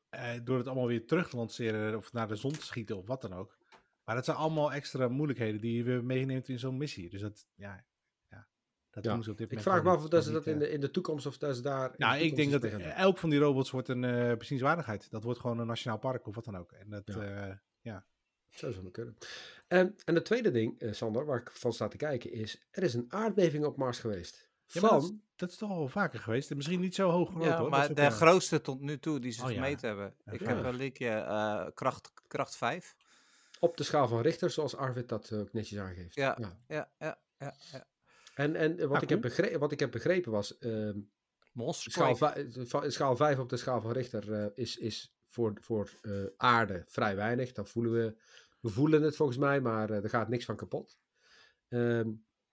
S2: eh, door het allemaal weer terug te lanceren of naar de zon te schieten of wat dan ook. Maar dat zijn allemaal extra moeilijkheden die je weer meeneemt in zo'n missie. Dus dat, ja, ja dat
S3: Ja.
S2: doen ze op dit
S3: ik
S2: moment.
S3: vraag me
S2: gewoon
S3: af of dat ze
S2: niet,
S3: dat in
S2: eh,
S3: de, in de toekomst of dat ze daar... in de
S2: Nou, ik
S3: toekomst
S2: denk
S3: iets
S2: dat
S3: mee gaan doen.
S2: elk van die robots wordt een eh bezienswaardigheid. Dat wordt gewoon een nationaal park of wat dan ook. En dat,
S3: Ja.
S2: eh,
S3: Zo zou het kunnen. En, en het tweede ding, eh, Sander, waar ik van sta te kijken is, er is een aardbeving op Mars geweest.
S2: Ja, maar
S3: van,
S2: dat is- dat is toch al wel vaker geweest. En Misschien niet zo hoog groot
S1: Ja,
S2: hoor. Dat is
S1: maar
S2: ook
S1: de
S2: wel-
S1: grootste tot nu toe die ze
S2: Oh ja.
S1: gemeten hebben. Ik
S2: Ja.
S1: heb een linkje eh, kracht, kracht 5.
S3: op de schaal van Richter, zoals Arvid dat eh, ook netjes aangeeft.
S1: Ja. Ja, ja, ja. ja.
S3: En, en eh, wat,
S2: Ah,
S3: ik heb
S2: cool.
S3: begrepen, wat ik heb begrepen was, ehm,
S1: Monster
S3: schaal,
S1: Quake.
S3: vij- eh, va- schaal 5 op de schaal van Richter eh, is, is voor, voor eh, aarde vrij weinig. Dan voelen we, we voelen het volgens mij, maar eh, er gaat niks van kapot. Ehm,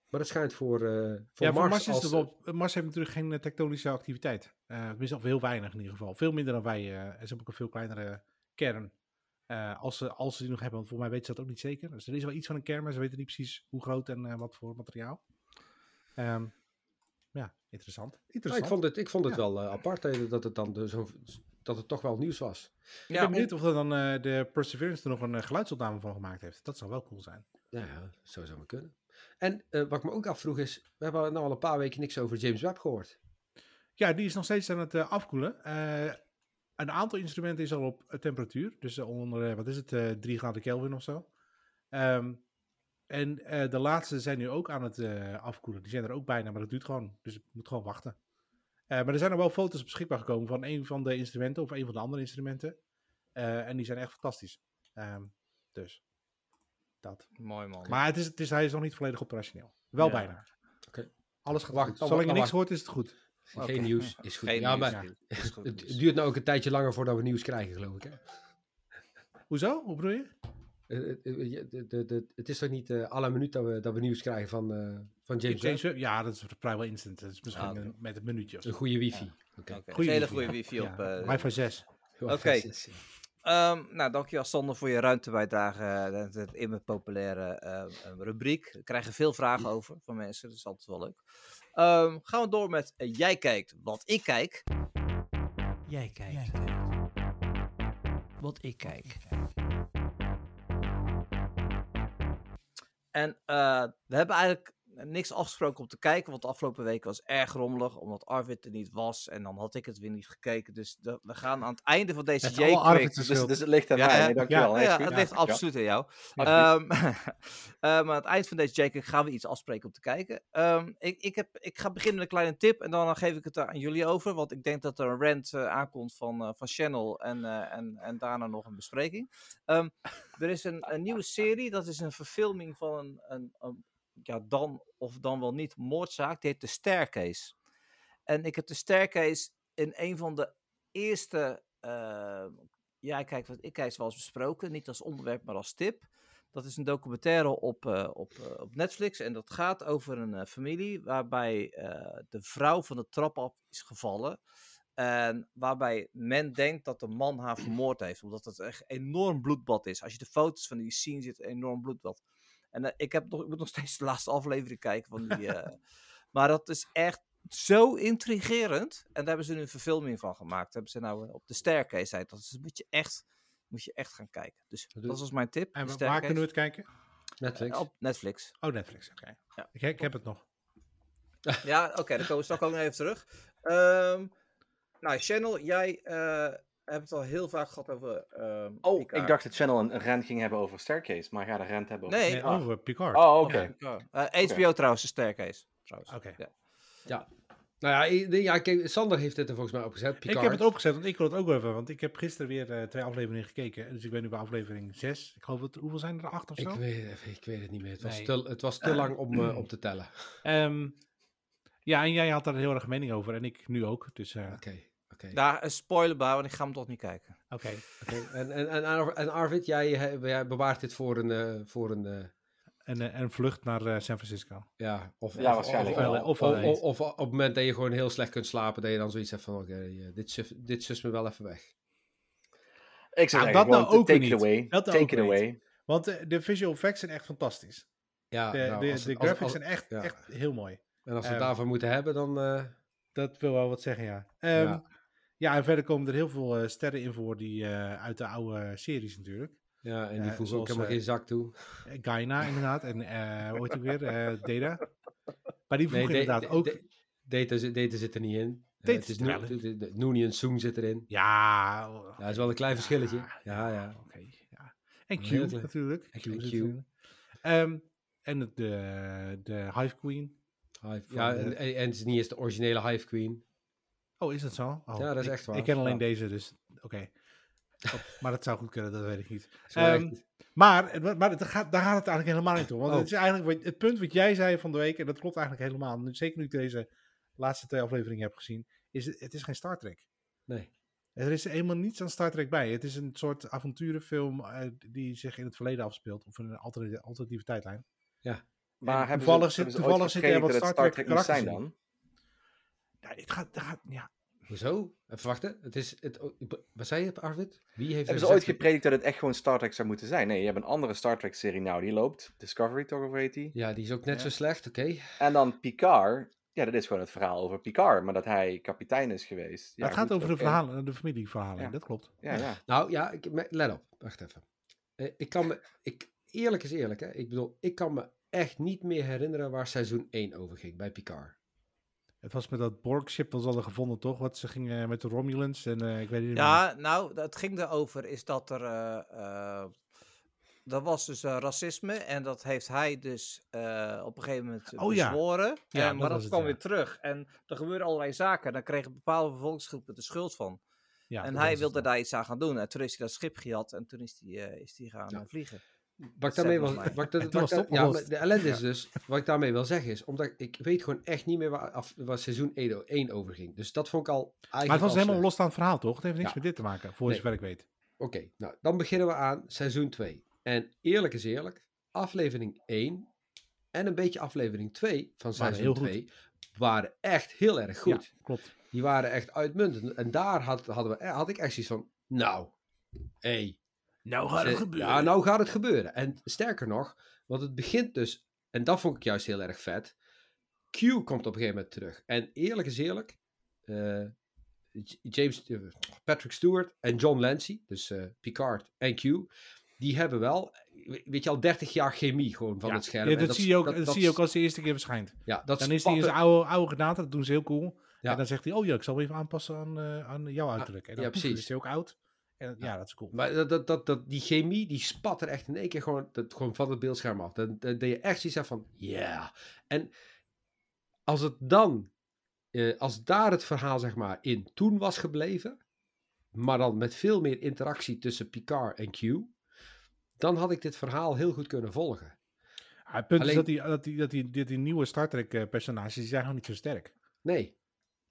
S3: maar dat schijnt voor, eh, voor
S2: ja,
S3: Mars,
S2: voor Mars, is
S3: als, eh,
S2: het wel, Mars heeft natuurlijk geen eh, tektonische activiteit. Eh tenminste, of heel weinig in ieder geval. Veel minder dan wij. eh, en ze hebben ook een veel kleinere kern. Eh, als, ze, als ze die nog hebben, want volgens mij weten ze dat ook niet zeker. Dus er is wel iets van een kern, maar ze weten niet precies hoe groot en eh, wat voor materiaal. Ehm, ja, interessant.
S3: Ja, Nou, ik
S2: interessant. ik,
S3: vond het, ik vond het
S2: Ja.
S3: wel eh, apart eh, dat het dan dus zo, dat het toch wel nieuws was.
S2: ben
S1: Ja,
S2: benieuwd of er dan eh, de Perseverance er nog een eh, geluidsopname van gemaakt heeft. Dat zou wel cool zijn.
S3: Nou ja, zo zou het kunnen. En eh, wat ik me ook afvroeg is, we hebben nou al een paar weken niks over James Webb gehoord.
S2: Ja, die is nog steeds aan het eh, afkoelen. Eh, een aantal instrumenten is al op eh, temperatuur. Dus eh, onder, eh, wat is het, eh 3 graden Kelvin of zo. Ehm, en eh, de laatste zijn nu ook aan het eh, afkoelen. Die zijn er ook bijna, maar dat duurt gewoon. Dus het moet gewoon wachten. Eh, maar er zijn al wel foto's beschikbaar gekomen van een van de instrumenten of een van de andere instrumenten. Eh, en die zijn echt fantastisch. Ehm, dus dat.
S1: mooi man.
S2: Maar het is, het is, hij is nog niet volledig operationeel. Wel
S1: Ja.
S2: bijna.
S3: Oké.
S2: Alles gaat
S3: Wacht,
S2: goed.
S3: dan-
S2: Zolang je
S3: dan
S2: niks
S3: wacht-
S2: hoort, is het goed.
S3: Geen
S1: Oké.
S3: nieuws is goed.
S1: Geen
S3: ja,
S1: nieuws.
S3: maar
S1: Is goed
S3: het
S1: nieuws.
S3: duurt nou ook een tijdje langer voordat we nieuws krijgen, geloof ik. Hè?
S2: Hoezo? Hoe bedoel je?
S3: Eh, eh, eh, je- de- de- de- het is toch niet eh à la minuut dat we, dat we nieuws krijgen van, eh, van James Webb?
S2: James Webb? Ja, dat is vrijwel instant. Dat is misschien
S1: Ah, oké.
S2: een- met een minuutje of zo.
S3: Een goede wifi.
S1: Oké,
S3: Oké.
S1: het is
S2: Goeie
S1: een hele
S2: wifi,
S1: goede wifi
S2: Ja,
S1: op. eh,
S2: wifi 6.
S1: Oké. Ehm, nou, dankjewel Sander voor je ruimtebijdrage. eh, Het, het immer populaire eh, eh, rubriek. We krijgen veel vragen over van mensen. dus Dat is altijd wel leuk. Ehm, gaan we door met eh, Jij kijkt wat ik kijk. Jij kijkt. Wat ik kijk. En eh, we hebben eigenlijk niks afgesproken om te kijken. Want de afgelopen week was erg rommelig. Omdat Arvid er niet was. En dan had ik het weer niet gekeken. Dus de- we gaan aan het einde van deze
S2: Het is allemaal
S1: J-Quick.
S2: Arvid's
S4: Dus,
S2: schuld.
S4: dus het ligt aan
S1: Ja,
S4: mij.
S1: hè?
S4: Nee, dankjewel.
S1: Ja,
S4: Nee, is
S1: ja,
S4: goed.
S1: het ligt
S4: Ja.
S1: absoluut aan jou.
S4: Absoluut.
S1: Ehm, ehm, aan het eind van deze Jacob gaan we iets afspreken om te kijken. Ehm, ik, ik, heb, ik ga beginnen met een kleine tip en dan geef ik het aan jullie over. Want ik denk dat er een rant eh, aankomt van, eh, van Channel en, eh, en, en daarna nog een bespreking. Ehm, er is een, een nieuwe serie, dat is een verfilming van een, een, een- ja, dan of dan wel niet moordzaak. Die heet De Staircase. En ik heb De Staircase in een van de eerste... eh, ja, kijk, wat ik kijk wel eens besproken. Niet als onderwerp, maar als tip. Dat is een documentaire op, eh, op, eh, op Netflix. En dat gaat over een eh, familie waarbij eh, de vrouw van de trap af is gevallen. En waarbij men denkt dat de man haar vermoord heeft. Omdat het echt een enorm bloedbad is. Als je de foto's van die scene ziet, een enorm bloedbad. En eh, ik, heb nog, ik moet nog steeds de laatste aflevering kijken van die. eh, maar dat is echt zo intrigerend. En daar hebben ze nu een verfilming van gemaakt. Hebben ze nou eh, op de staircase heet. Dat is, dat moet je echt, moet je echt gaan kijken. Dus
S3: Dat
S1: dat,
S3: doe-
S1: was mijn tip.
S2: En
S1: de
S2: wa- waar kunnen we
S1: staircase.
S2: het kijken?
S3: Netflix.
S1: Eh, Op Netflix.
S2: Oh, Netflix. Oké.
S1: Ja.
S2: Ik, ik heb het nog.
S1: Ja, oké, dan komen we straks ook nog even terug. Ehm, nou, Channel, jij eh, hebt het al heel vaak gehad over. ehm,
S4: Oh,
S1: Picard.
S4: ik dacht dat Channel een, een rant ging hebben over Staircase, maar ga de rant hebben over
S1: Nee.
S2: Nee,
S4: Picard.
S2: over Picard.
S4: Oh, oké.
S1: Over Picard. Eh, HBO trouwens, de staircase. Trouwens.
S2: Oké.
S1: Ja.
S3: Nou ja, ik- ja kijk, Sander heeft dit er volgens mij opgezet. Picard.
S2: Ik heb het opgezet, want ik wil het ook wel even. Want ik heb gisteren weer eh, twee afleveringen gekeken. Dus ik ben nu bij aflevering 6. Ik geloof dat, hoeveel zijn er? Acht of
S3: Ik
S2: zo?
S3: weet, even- ik weet het niet meer. Het was
S2: Nee.
S3: te, het was te lang om eh, op te tellen.
S2: Ehm, ja, en jij had daar heel erg mening over. En ik nu ook. Dus eh,
S3: Oké.
S2: oké.
S3: oké.
S1: Daar, een spoilerbaar, want ik ga hem toch niet kijken.
S3: Oké, En, en, en, Ar- en Arvid, jij, he- jij bewaart dit voor een, eh, voor een eh,
S2: En, eh, en vlucht naar eh, San Francisco.
S3: ja, of,
S4: Ja,
S3: of-
S4: waarschijnlijk
S3: Of,
S4: wel.
S3: of,
S2: Of-
S3: of- of op het moment dat je gewoon heel slecht kunt slapen, dat je dan zoiets hebt van, oké, eh, dit, suf- dit sus me wel even weg.
S4: Ik zou
S2: Ja,
S4: zeggen,
S2: dat
S4: gewoon
S2: nou ook
S4: take
S2: weer
S4: it
S2: niet.
S4: away.
S2: Dat nou
S4: take
S2: ook
S4: it
S2: weer niet.
S4: away.
S2: Want eh, de visual effects zijn echt fantastisch.
S3: Ja,
S2: De,
S3: nou,
S2: de,
S3: als
S2: de
S3: het- als-
S2: graphics
S3: als-
S2: zijn echt,
S3: ja.
S2: echt heel mooi.
S3: En als we het
S2: ehm,
S3: daarvan moeten hebben, dan... eh,
S2: Dat wil wel wat zeggen, ja. Ehm,
S3: Ja.
S2: ja. en verder komen er heel veel eh, sterren in voor die eh, uit de oude series natuurlijk.
S3: ja, en die
S2: eh,
S3: voegen ook
S2: zoals,
S3: helemaal
S2: eh,
S3: geen zak toe.
S2: Eh, Gaina inderdaad. En eh hoe heet die ook weer? Eh Data. Maar
S3: Nee,
S2: die vroeg inderdaad
S3: de-
S2: ook...
S3: de- data, zi- data zit er niet in. Eh, het
S2: Data
S3: is
S2: zit er
S3: Nu-
S2: wel in.
S3: de- de- de- Noonien Soong zit erin.
S2: ja, oh.
S3: Ja, dat is wel een klein verschilletje. Ja,
S2: Oké,
S3: ja.
S2: ja. En Q
S3: Heel klein.
S2: natuurlijk.
S3: En-
S2: Q
S3: en
S2: zit
S3: Q.
S2: erin. Ehm, en het- de, de Hive Queen.
S3: Hive- ja en, en en het is niet eens de originele Hive Queen.
S2: Oh, is dat zo? Oh,
S3: Ja, dat is
S2: ik-
S3: echt waar.
S2: Ik ken alleen
S3: Ja.
S2: deze, dus oké. Oh, maar dat zou goed kunnen, dat weet ik niet.
S3: Zo werkt
S2: Ehm,
S3: het.
S2: Maar, het wa- maar het gaat, daar gaat het eigenlijk helemaal niet om. Want
S3: Oh.
S2: het is eigenlijk wat- het punt wat jij zei van de week, en dat klopt eigenlijk helemaal. Nu, zeker nu ik deze laatste twee afleveringen heb gezien, is het, het is geen Star Trek.
S3: Nee.
S2: Er is helemaal niets aan Star Trek bij. Het is een soort avonturenfilm eh, die zich in het verleden afspeelt, of in een alternatieve, alternatieve tijdlijn.
S4: Maar hebben ze-
S2: toevallig zit-
S4: hebben ze ooit
S2: toevallig zit er
S4: geschreven
S2: wat
S4: dat het
S2: Star
S4: Star
S2: Trek
S4: Trek moest zijn
S2: karakters
S4: dan?
S2: Nou, het gaat, het gaat- ja.
S3: Hoezo? Even wachten. Het is het, o- b- wat zei je, Arvid? Wie heeft er
S4: Hebben ze ooit
S3: gezegd-
S4: gepredikt dat het echt gewoon Star Trek zou moeten zijn? Nee, je hebt een andere Star Trek serie nou, die loopt. Discovery toch, of hoe heet die?
S3: Ja, die is ook net zo slecht, oké.
S4: En dan Picard. Ja, dat is gewoon het verhaal over Picard, maar dat hij kapitein is geweest. Ja,
S2: het gaat
S4: goed,
S2: over de,
S4: oké.
S2: verhalen, de familieverhalen,
S4: Ja.
S2: dat klopt.
S4: Ja, ja.
S3: Nou ja, ik, me- let op. Wacht even. Eh, ik kan me, ik, eerlijk is eerlijk, hè. Ik bedoel, ik kan me echt niet meer herinneren waar seizoen 1 over ging bij Picard.
S2: Het was met dat Borg-ship dat ze hadden gevonden, toch? Wat ze gingen met de Romulans en eh, ik weet niet meer.
S1: Ja, nou, het ging erover is dat er. eh eh, er was dus eh, racisme en dat heeft hij dus eh, op een gegeven moment
S2: Oh ja.
S1: bezworen.
S2: Ja,
S1: Eh,
S2: dat
S1: maar
S2: was
S1: dat
S2: het,
S1: kwam
S2: ja.
S1: weer terug. En er gebeurden allerlei zaken. En daar kregen bepaalde bevolkingsgroepen de schuld van.
S2: Ja,
S1: en hij
S2: dat was het
S1: wilde
S2: dan.
S1: daar iets aan gaan doen. En toen is hij dat schip gejat en toen is hij, eh, is hij gaan
S3: Ja.
S1: eh, vliegen.
S3: Wat ik daarmee
S1: Zeg
S3: wil,
S1: het maar.
S3: wat ik da-
S2: En toen
S3: wat ik da-
S2: was het
S3: ja,
S2: opgelost.
S3: maar de ellende is dus, wat ik daarmee wil zeggen is, omdat ik weet gewoon echt niet meer waar, af, waar seizoen 1 over ging. Dus dat vond ik al eigenlijk
S2: Maar het
S3: al
S2: was helemaal
S3: slecht.
S2: een losstaand verhaal, toch? Het heeft niks
S3: Ja.
S2: met dit te maken, voor
S3: Nee.
S2: zover ik weet.
S3: Oké, nou dan beginnen we aan seizoen 2. En eerlijk is eerlijk, aflevering 1 en een beetje aflevering 2 van
S2: Waren
S3: seizoen
S2: heel goed.
S3: 2 waren echt heel erg goed.
S2: Ja, klopt.
S3: Die waren echt uitmuntend. En daar had, hadden we, had ik echt zoiets van, nou, hé.
S1: Dus,
S2: Nou
S1: eh,
S3: Ze- Ja, nou gaat het gebeuren. En sterker nog, want het begint dus, en dat vond ik juist heel erg vet. Q komt op een gegeven moment terug. En eerlijk is eerlijk, eh, J- James, eh, Patrick Stewart en John Lancy, dus eh, Picard en Q, die hebben wel, we- weet je al, 30 jaar chemie gewoon van
S2: Ja,
S3: het scherm.
S2: ja,
S3: En
S2: dat, zie je ook, dat,
S3: dat-
S2: zie je ook als de eerste keer verschijnt.
S3: Ja, dat
S2: Dan is hij in
S3: spatten-
S2: zijn oude, oude gedaante, dat doen ze heel cool.
S3: Ja. Ah,
S2: En dan zegt hij, oh ja, ik zal me even aanpassen aan, eh, aan jouw uiterlijk. En dan
S3: ja,
S2: poef,
S3: precies.
S2: is hij ook oud. En ja, dat is cool.
S3: Maar dat, dat, dat, dat, die chemie, die spat er echt in één keer gewoon, dat, gewoon van het beeldscherm af. Dat, dat, dat je echt zoiets hebt van, ja. En als het dan, eh, als daar het verhaal zeg maar in toen was gebleven, maar dan met veel meer interactie tussen Picard en Q, dan had ik dit verhaal heel goed kunnen volgen.
S2: Ja, Ah, het punt
S3: alleen-
S2: is dat die, dat die, dat die, dit die nieuwe Star Trek eh, personages, die zijn gewoon niet zo sterk.
S3: Nee.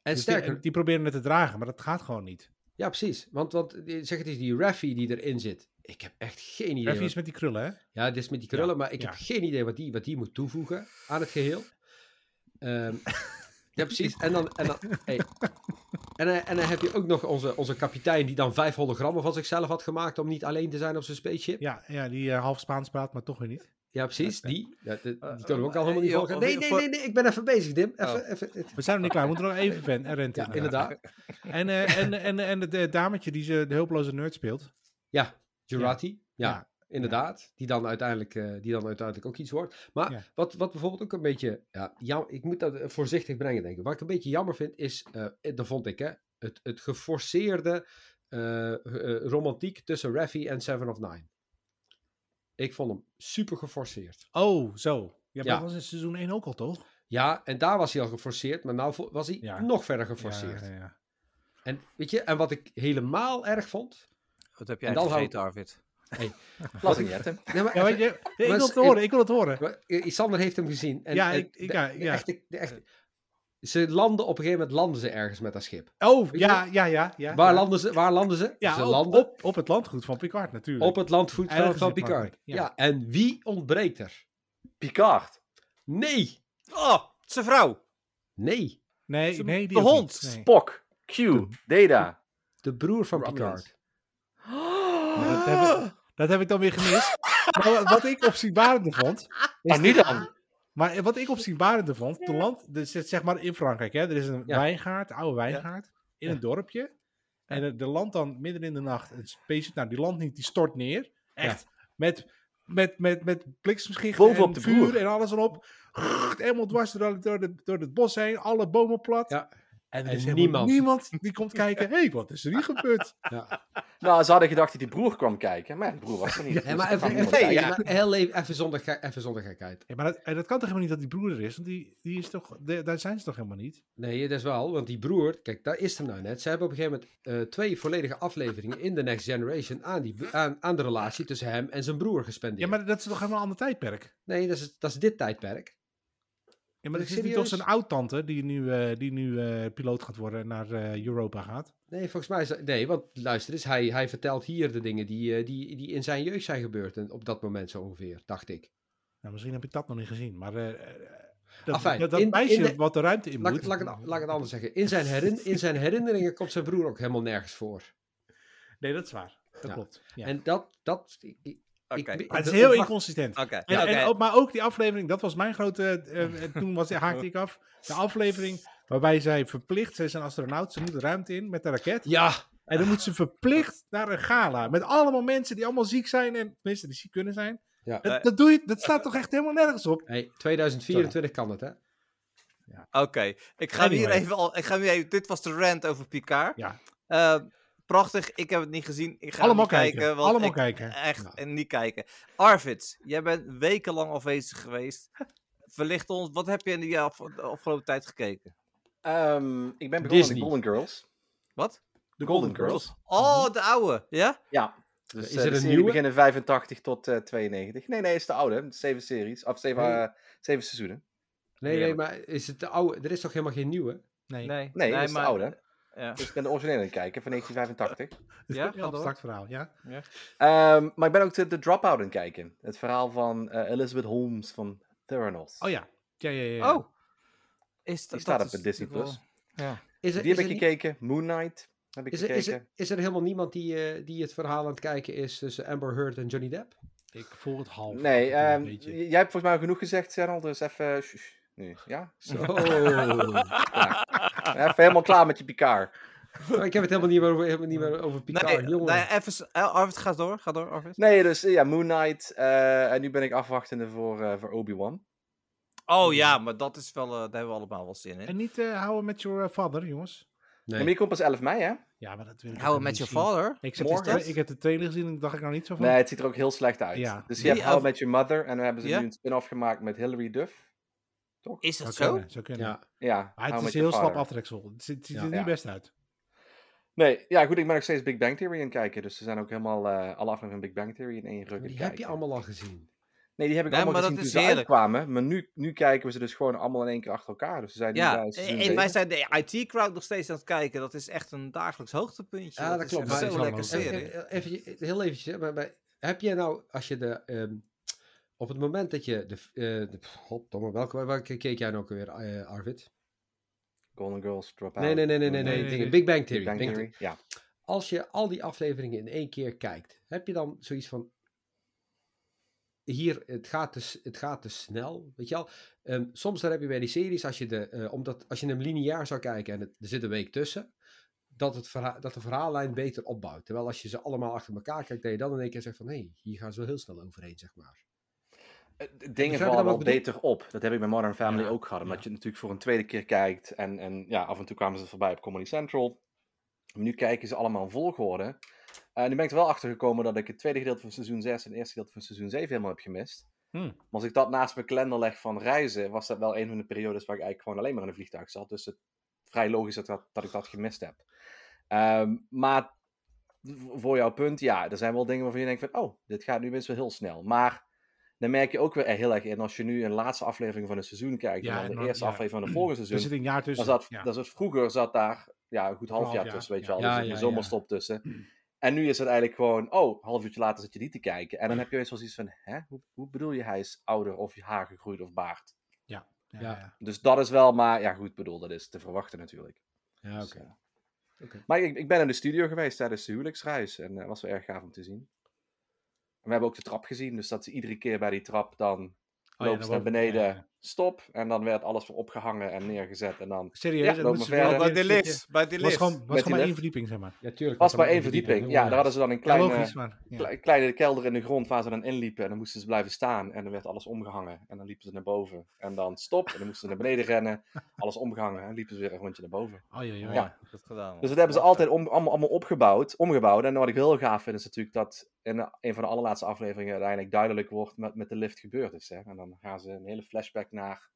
S3: En
S2: Dus die-
S3: sterker,
S2: Die, proberen het te dragen, maar dat gaat gewoon niet.
S3: ja precies, want, want eh, zeg het is die Raffi die erin zit. Ik heb echt geen idee.
S2: Even
S3: wat-
S2: iets met die krullen, hè?
S3: Ja, dit is met die krullen,
S2: Ja,
S3: maar ik
S2: ja.
S3: heb geen idee wat die, wat die moet toevoegen aan het geheel. Ehm, ja, precies. En dan, en, dan, hey. en, dan- en dan heb je ook nog onze, onze kapitein die dan vijf hologrammen van zichzelf had gemaakt om niet alleen te zijn op zijn spaceship. Ja,
S2: Ja, ja die eh, half Spaans praat, maar toch weer niet.
S3: precies. Die, ja, de-
S1: Eh,
S3: die kunnen we ook
S1: eh,
S3: al helemaal niet
S1: joh,
S3: volgen. Nee,
S1: of-
S3: nee,
S1: voor-
S3: nee, nee, ik ben even bezig, Dim. Even,
S1: Oh.
S3: even, het-
S2: We zijn nog niet klaar, we moeten nog even van en rente.
S3: ja, inderdaad.
S2: En, eh, en, en, en het eh, dametje die ze de hulpeloze nerd speelt.
S3: Ja, Jurati. Ja,
S2: Ja,
S3: inderdaad. Die, dan uiteindelijk, eh, die dan uiteindelijk ook iets wordt. Maar
S2: Ja.
S3: wat, wat bijvoorbeeld ook een beetje... Ja, jam- ik moet dat eh, voorzichtig brengen, denk ik. Wat ik een beetje jammer vind, is... eh eh, dat vond ik, hè. Het, het geforceerde eh, eh, romantiek tussen Raffi en Seven of Nine. Ik vond hem super geforceerd.
S2: Oh, zo. Ja, maar
S3: Ja.
S2: dat was in seizoen 1 ook al, toch?
S3: Ja, en daar was hij al geforceerd. Maar nou vo- was hij
S2: Ja.
S3: nog verder geforceerd.
S2: Ja, ja, ja.
S3: En, weet je, en wat ik helemaal erg vond...
S1: Wat heb
S3: En
S1: jij
S3: dan
S1: gegeten, Arvid?
S4: Laat ik niet, hè, Tim.
S3: Nee, maar
S2: Ja, weet
S3: even-
S2: je, ik wil het
S3: even-
S2: horen, ik wil het horen.
S3: Maar, eh, Sander heeft hem gezien. En,
S2: Ja,
S3: en
S2: ik- ik-
S3: de-
S2: ja,
S3: de
S2: ja.
S3: echte- de echte- ze landen op een gegeven moment landen ze ergens met dat schip.
S2: Oh,
S3: je
S2: ja, ja, ja. ja
S3: waar,
S2: ja.
S3: Landen ze, waar landen ze?
S2: Ja,
S3: ze
S2: op,
S3: landen op,
S2: Op, op het landgoed van Picard natuurlijk.
S3: het landvoetveld
S2: Ergens
S3: van
S2: in het
S3: Picard. Ja.
S2: landgoed, ja.
S3: en wie ontbreekt er?
S4: Picard.
S3: Nee,
S1: Oh, zijn vrouw.
S3: nee,
S2: nee,
S1: Zijn-
S2: nee, die
S1: de
S2: ook niet.
S1: hond.
S2: Nee.
S4: Spock. Q. Data.
S3: de broer van
S4: Romulans.
S3: Picard.
S2: Maar dat, heb ik, dat heb ik dan weer gemist. Maar wa- wat ik opzienbarende vond.
S3: Ah,
S4: Maar nu dan.
S2: Maar eh, wat ik opzienbarende vond. De land, dus het- zeg maar in Frankrijk, hè, er is een
S3: Ja.
S2: wijngaard, oude wijngaard. In een dorpje. En de, de land dan midden in de nacht. Een spaceship, nou die land niet, die stort neer. Echt. Met, met, met, met bliksemschichten
S4: Bovenop
S2: en
S4: de
S2: vuur
S4: boer.
S2: en alles erop. Grrrt, Helemaal dwars door, door, de- door het bos heen. Alle bomen plat.
S3: Ja.
S2: En er
S3: En
S2: is helemaal
S3: niemand.
S2: niemand. die komt kijken. Hé, hey, wat is er hier gebeurd?
S3: Ja.
S4: Nou, ze hadden gedacht dat die broer kwam kijken. Maar ja, die broer was er niet.
S3: Nee,
S4: Dus
S3: maar
S4: er
S3: even,
S4: kwam
S3: even,
S4: niemand
S3: even,
S4: kijken.
S3: maar heel even, even, zonder, ge- even zonder gekheid.
S2: Ja, maar dat, en dat kan toch helemaal niet dat die broer er is? Want die, die is toch, de- daar zijn ze toch helemaal niet?
S3: Nee, dat is wel, want die broer, kijk, daar is hem nou net. Ze hebben op een gegeven moment eh, twee volledige afleveringen in The Next Generation aan, die, aan, aan de relatie tussen hem en zijn broer gespendeerd.
S2: Ja, maar dat is toch helemaal een ander tijdperk?
S3: Nee, dat is, dat is dit tijdperk.
S2: Ja, maar
S3: Ben
S2: dat
S3: je
S2: is niet toch
S3: serieus?
S2: zijn oud-tante die nu, eh, die nu eh, piloot gaat worden en naar eh, Europa gaat?
S3: Nee, volgens mij is dat- Nee, want luister eens, hij, hij vertelt hier de dingen die, eh, die, die in zijn jeugd zijn gebeurd. En op dat moment zo ongeveer, dacht ik.
S2: Nou, misschien heb ik dat nog niet gezien, maar eh, eh, dat,
S3: Afijn,
S2: dat, dat
S3: in- in
S2: meisje
S3: de-
S2: wat de ruimte in
S3: Laat, ik
S2: moet...
S3: het- laat, ik het- laat ik het anders zeggen. In zijn, herin, in zijn herinneringen komt zijn broer ook helemaal nergens voor.
S2: Nee, dat is waar. Dat
S3: Ja.
S2: klopt. Ja.
S3: En dat... dat ik, ik-
S1: Oké.
S3: ik-
S2: maar het is
S3: dat-
S2: heel
S3: dat mag- Ah,
S2: inconsistent.
S1: Oké.
S2: En,
S1: oké.
S2: en ook, maar ook die aflevering, dat was mijn grote. eh, eh, toen was, haakte ik af. De aflevering waarbij zij verplicht, zij is een astronaut, ze moet de ruimte in met de raket.
S3: Ja,
S2: En dan moet ze verplicht naar een gala. Met allemaal mensen die allemaal ziek zijn. En mensen die ziek kunnen zijn.
S3: Ja.
S2: Dat, dat, doe je, dat staat toch echt helemaal nergens op?
S3: hey, 2024 kan het, hè?
S1: Oké, ik ga hem hier
S2: Anyway.
S1: even al. Ik ga hem hier even, dit was de rant over Picard.
S2: Ja.
S1: Eh, prachtig, ik heb het niet gezien. Ik ga
S2: allemaal
S1: hem niet
S2: kijken.
S1: kijken. want
S2: allemaal
S1: ik Eh,
S2: kijken.
S1: Echt
S3: Ja.
S1: en niet kijken. Arvid, jij bent wekenlang afwezig geweest. Verlicht ons, wat heb je in die eh, af, de afgelopen tijd gekeken?
S4: Ehm, ik ben begonnen aan
S3: Disney.
S4: de Golden Girls.
S1: Wat?
S2: Mhm.
S4: De Golden Girls.
S1: Oh, de oude, ja?
S4: Ja. Dus
S3: Is
S4: eh,
S3: er
S4: de
S3: een
S4: serie
S3: nieuwe?
S4: beginnen 85 tot eh, 92. Nee, nee, is de oude. Zeven series. Of zeven,
S3: Nee.
S4: eh, zeven seizoenen.
S3: Nee, nee,
S1: Heerlijk.
S3: maar is het de oude? Er is toch helemaal geen nieuwe?
S2: Nee.
S1: Nee,
S4: Nee, dat is de oude.
S1: Ja,
S4: Dus ik ben de originele aan het kijken van 1985.
S1: Ja,
S2: Ja,
S1: ga door.
S2: abstract verhaal, ja.
S4: Ehm, maar ik ben ook de, de Dropout aan het kijken. Het verhaal van eh, Elizabeth Holmes van Theranos.
S2: Oh ja. Ja, ja, ja. ja.
S1: Oh. Is
S4: Die
S1: dat,
S4: staat
S1: dat
S4: op
S1: is
S4: de Disney+.
S1: natuurlijk wel- Ja.
S3: Is er,
S4: Die heb
S3: is
S4: ik
S3: er niet-
S4: gekeken. Moon Knight heb ik
S3: Is er,
S4: gekeken.
S3: is, er, is er helemaal niemand die, eh, die het verhaal aan het kijken is tussen Amber Heard en Johnny Depp?
S2: Oh, Ik voel het half.
S4: Nee,
S2: af en toe een
S4: ehm,
S2: beetje.
S4: j- jij hebt volgens mij al genoeg gezegd, Channel, dus even... shush, shush. Nu, ja? Zo.
S3: Oh.
S4: Even helemaal klaar met je Picard.
S3: Maar Oh, ik heb het helemaal niet meer over, helemaal niet meer over Picard,
S1: Nee,
S3: jongen.
S1: nee, Nou, even... s- eh, Arvid, ga door. Ga door, Arvid.
S4: Nee, dus eh, ja, Moon Knight. eh, en nu ben ik afwachtende voor, eh, voor Obi-Wan.
S1: Oh ja, maar dat is wel... eh, daar hebben we allemaal wel zin in.
S2: En niet eh, houden met your father, jongens.
S3: Nee.
S4: Maar die komt pas 11 mei, hè?
S2: Ja, maar dat wil ik ook
S1: Houden
S2: niet
S1: met je
S2: zien.
S1: vader?
S2: Ik, zat
S4: Morgen?
S2: gisteren- ik heb de trailer gezien en dacht ik nou niet zo van.
S4: Nee, het ziet er ook heel slecht uit.
S2: Ja.
S4: Dus je
S1: Die
S4: hebt How I
S1: af-
S4: Met Your Mother en dan hebben ze
S1: Ja?
S4: nu een spin-off gemaakt met Hilary Duff.
S1: Is dat
S2: Zou
S1: zo?
S2: kunnen, zou kunnen.
S3: Ja.
S4: Ja,
S2: Maar
S4: How
S2: het
S4: I Met
S2: is
S4: Your
S2: heel slap
S4: Father.
S2: aftreksel. Het ziet, het ziet er
S3: Ja.
S2: niet
S4: Ja.
S2: best uit.
S4: Nee, ja goed, ik ben nog steeds Big Bang Theory aan het kijken. Dus ze zijn ook helemaal eh alle afleveringen van Big Bang Theory in één ruk aan
S3: Maar
S4: het
S3: die heb je
S4: kijken.
S3: allemaal al gezien.
S4: Nee, die heb ik
S1: Nee,
S4: allemaal
S1: maar dat
S4: gezien toen
S1: is
S4: ze
S1: heerlijk.
S4: uitkwamen. Maar nu, nu kijken we ze dus gewoon allemaal in één keer achter elkaar. Dus ze zijn nu
S1: Ja,
S4: bij
S1: en
S4: seizoen
S1: en wij
S4: zeven.
S1: zijn de IT-crowd nog steeds aan het kijken. Dat is echt een dagelijks hoogtepuntje.
S3: Ja, dat klopt,
S1: Is
S3: maar
S1: echt
S2: dat
S1: zo'n
S2: is
S1: lekker
S2: wel-
S1: serie.
S3: Eh, eh, Even, heel eventjes, hè, maar, maar heb jij nou, als je de, ehm, op het moment dat je, de, eh de, goddomme, welke, welke keek jij nou ook weer, eh, Arvid?
S4: Golden Girls, Dropout.
S3: Nee, nee, nee, nee, nee,
S4: Moon
S3: nee,
S4: Knight,
S2: nee,
S3: dingen.
S2: nee.
S3: Big Bang Theory.
S4: Big Bang
S3: Big Bang
S4: Theory. Ja.
S3: Theory. Als je al die afleveringen in één keer kijkt, heb je dan zoiets van, hier, het gaat te, s- het gaat te snel, weet je wel. Ehm, soms dan heb je bij die series, als je, de, eh, omdat, als je hem lineair zou kijken en het, er zit een week tussen, dat, het verha- dat de verhaallijn beter opbouwt. Terwijl als je ze allemaal achter elkaar kijkt, dat je dan in één keer zegt van, hé, hey, hier gaan ze wel heel snel overheen, zeg maar.
S4: Eh, d- Dingen
S3: wat
S4: vallen
S3: ik
S4: wel
S3: bedoel?
S4: beter op. Dat heb ik bij Modern Family
S2: Ja,
S4: ook gehad. Omdat
S2: ja.
S4: je natuurlijk voor een tweede keer kijkt. En, en ja, af en toe kwamen ze voorbij op Comedy Central. Maar nu kijken ze allemaal in volgorde. En nu ben ik er wel achter gekomen dat ik het tweede gedeelte van seizoen 6 en het eerste gedeelte van seizoen 7 helemaal heb gemist.
S2: Hmm.
S4: Maar als ik dat naast mijn kalender leg van reizen, was dat wel een van de periodes waar ik eigenlijk gewoon alleen maar in een vliegtuig zat. Dus het vrij logisch dat, dat, dat ik dat gemist heb. Ehm, maar v- voor jouw punt, ja, er zijn wel dingen waarvan je denkt van, oh, dit gaat nu best wel heel snel. Maar dan merk je ook weer heel erg in, als je nu een laatste aflevering van een seizoen kijkt,
S2: Ja,
S4: en dan
S2: en
S4: de
S2: dan-
S4: eerste
S2: ja. Mm. Dus
S4: aflevering van de volgende
S2: Er zit
S4: seizoen,
S2: een jaar
S4: Dus dan
S2: tussen.
S4: zat,
S2: ja.
S4: dan zat vroeger zat daar ja, een goed half
S2: half
S4: jaar
S2: jaar,
S4: tussen, weet je
S2: ja. Mm.
S4: wel.
S3: Ja,
S4: dus
S3: ja,
S4: een
S3: ja.
S4: zomerstop tussen. En nu is het eigenlijk gewoon, oh, een half uurtje later zit je die te kijken. En dan
S2: Mm.
S4: heb je eens wel zoiets van, hè, hoe, hoe bedoel je, hij is ouder of haar gegroeid of baard?
S2: Ja,
S3: Ja.
S2: ja.
S4: Dus dat is wel, maar ja, goed, bedoel, dat is te verwachten natuurlijk.
S3: Ja,
S4: Dus,
S3: oké.
S4: eh,
S3: Oké.
S4: Maar ik, ik ben in de studio geweest tijdens de huwelijksreis. En dat was wel erg gaaf om te zien. En we hebben ook de trap gezien. Dus dat ze iedere keer bij die trap dan
S2: Oh, ja,
S4: lopen
S2: dan
S4: ze naar
S2: wordt- ja,
S4: beneden.
S2: ja.
S4: Stop. En dan werd alles voor opgehangen en neergezet. En dan
S2: Serieus,
S1: Ja,
S2: dat
S4: loop
S2: moeten
S4: maar
S2: ze
S4: verder.
S2: wel-
S1: Bij de
S2: dat-
S1: lift, bij de
S2: Het was
S1: lift.
S2: gewoon, was
S4: Met eh,
S2: gewoon
S4: die
S2: maar één
S4: lift.
S2: verdieping, zeg maar.
S3: Ja, tuurlijk. want
S4: was maar
S3: dan moet
S4: één
S3: je die
S4: verdieping.
S3: doen,
S4: Ja, daar hadden ze dan een kleine,
S2: ja, logisch, maar... Ja.
S4: kle- kleine kelder in de grond waar ze dan inliepen. En dan moesten ze blijven staan. En dan werd alles omgehangen. En dan liepen ze naar boven. En dan stop. En dan moesten ze naar beneden rennen. Alles omgehangen. En liepen ze weer een rondje naar boven.
S2: Oh, joh, joh.
S4: Ja.
S1: Goed gedaan.
S4: Dus dat hebben ze altijd om, allemaal, allemaal opgebouwd, omgebouwd. En wat ik heel gaaf vind, is natuurlijk dat in de- een van de allerlaatste afleveringen uiteindelijk duidelijk wordt met, met de lift gebeurd is. Hè? En dan gaan ze een hele flashback naar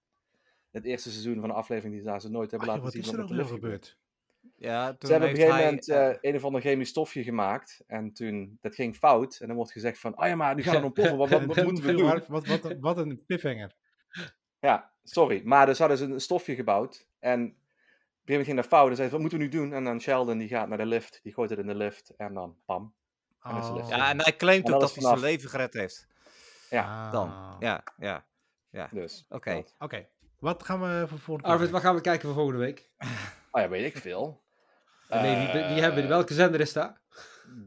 S4: het eerste seizoen van de aflevering die ze daar ze nooit
S2: Ah,
S4: hebben
S2: joh,
S4: laten
S2: wat is
S4: zien.
S2: er
S4: wat
S2: ook
S4: met de
S2: weer
S4: lift gebeurt.
S2: gebeurd?
S1: Ja, toen
S4: Ze hebben op een
S1: heeft
S4: gegeven moment
S1: hij, eh,
S4: eh, een of ander chemisch stofje gemaakt. En toen, dat ging fout. En dan wordt gezegd van, ah ja, maar nu gaan we ontploffen. Wat, wat, wat moeten we doen?
S2: Wat, wat, wat, een- wat een cliffhanger.
S4: Ja, sorry. Maar dus hadden ze een stofje gebouwd. En op een gegeven moment ging dat fout. Dus zeiden ze, wat moeten we nu doen? En dan Sheldon, die gaat naar de lift. Die gooit het in de lift. En dan, pam. dat
S2: Oh.
S4: is de lift.
S1: Ja, en hij claimt
S4: eh, En
S1: ook
S4: dat
S1: dat
S4: is
S1: hij zijn
S4: vanaf.
S1: leven gered heeft.
S4: ja,
S1: Dan.
S2: Ah.
S1: Ja, ja.
S4: Dus.
S1: Oké.
S4: dat.
S2: Oké, wat gaan we voor volgende
S3: ja. Arvid,
S2: keer doen?
S3: wat gaan we kijken voor volgende week?
S4: Oh ja, weet ik veel.
S3: nee, wie, wie hebben we?
S4: Eh,
S3: Welke zender is dat?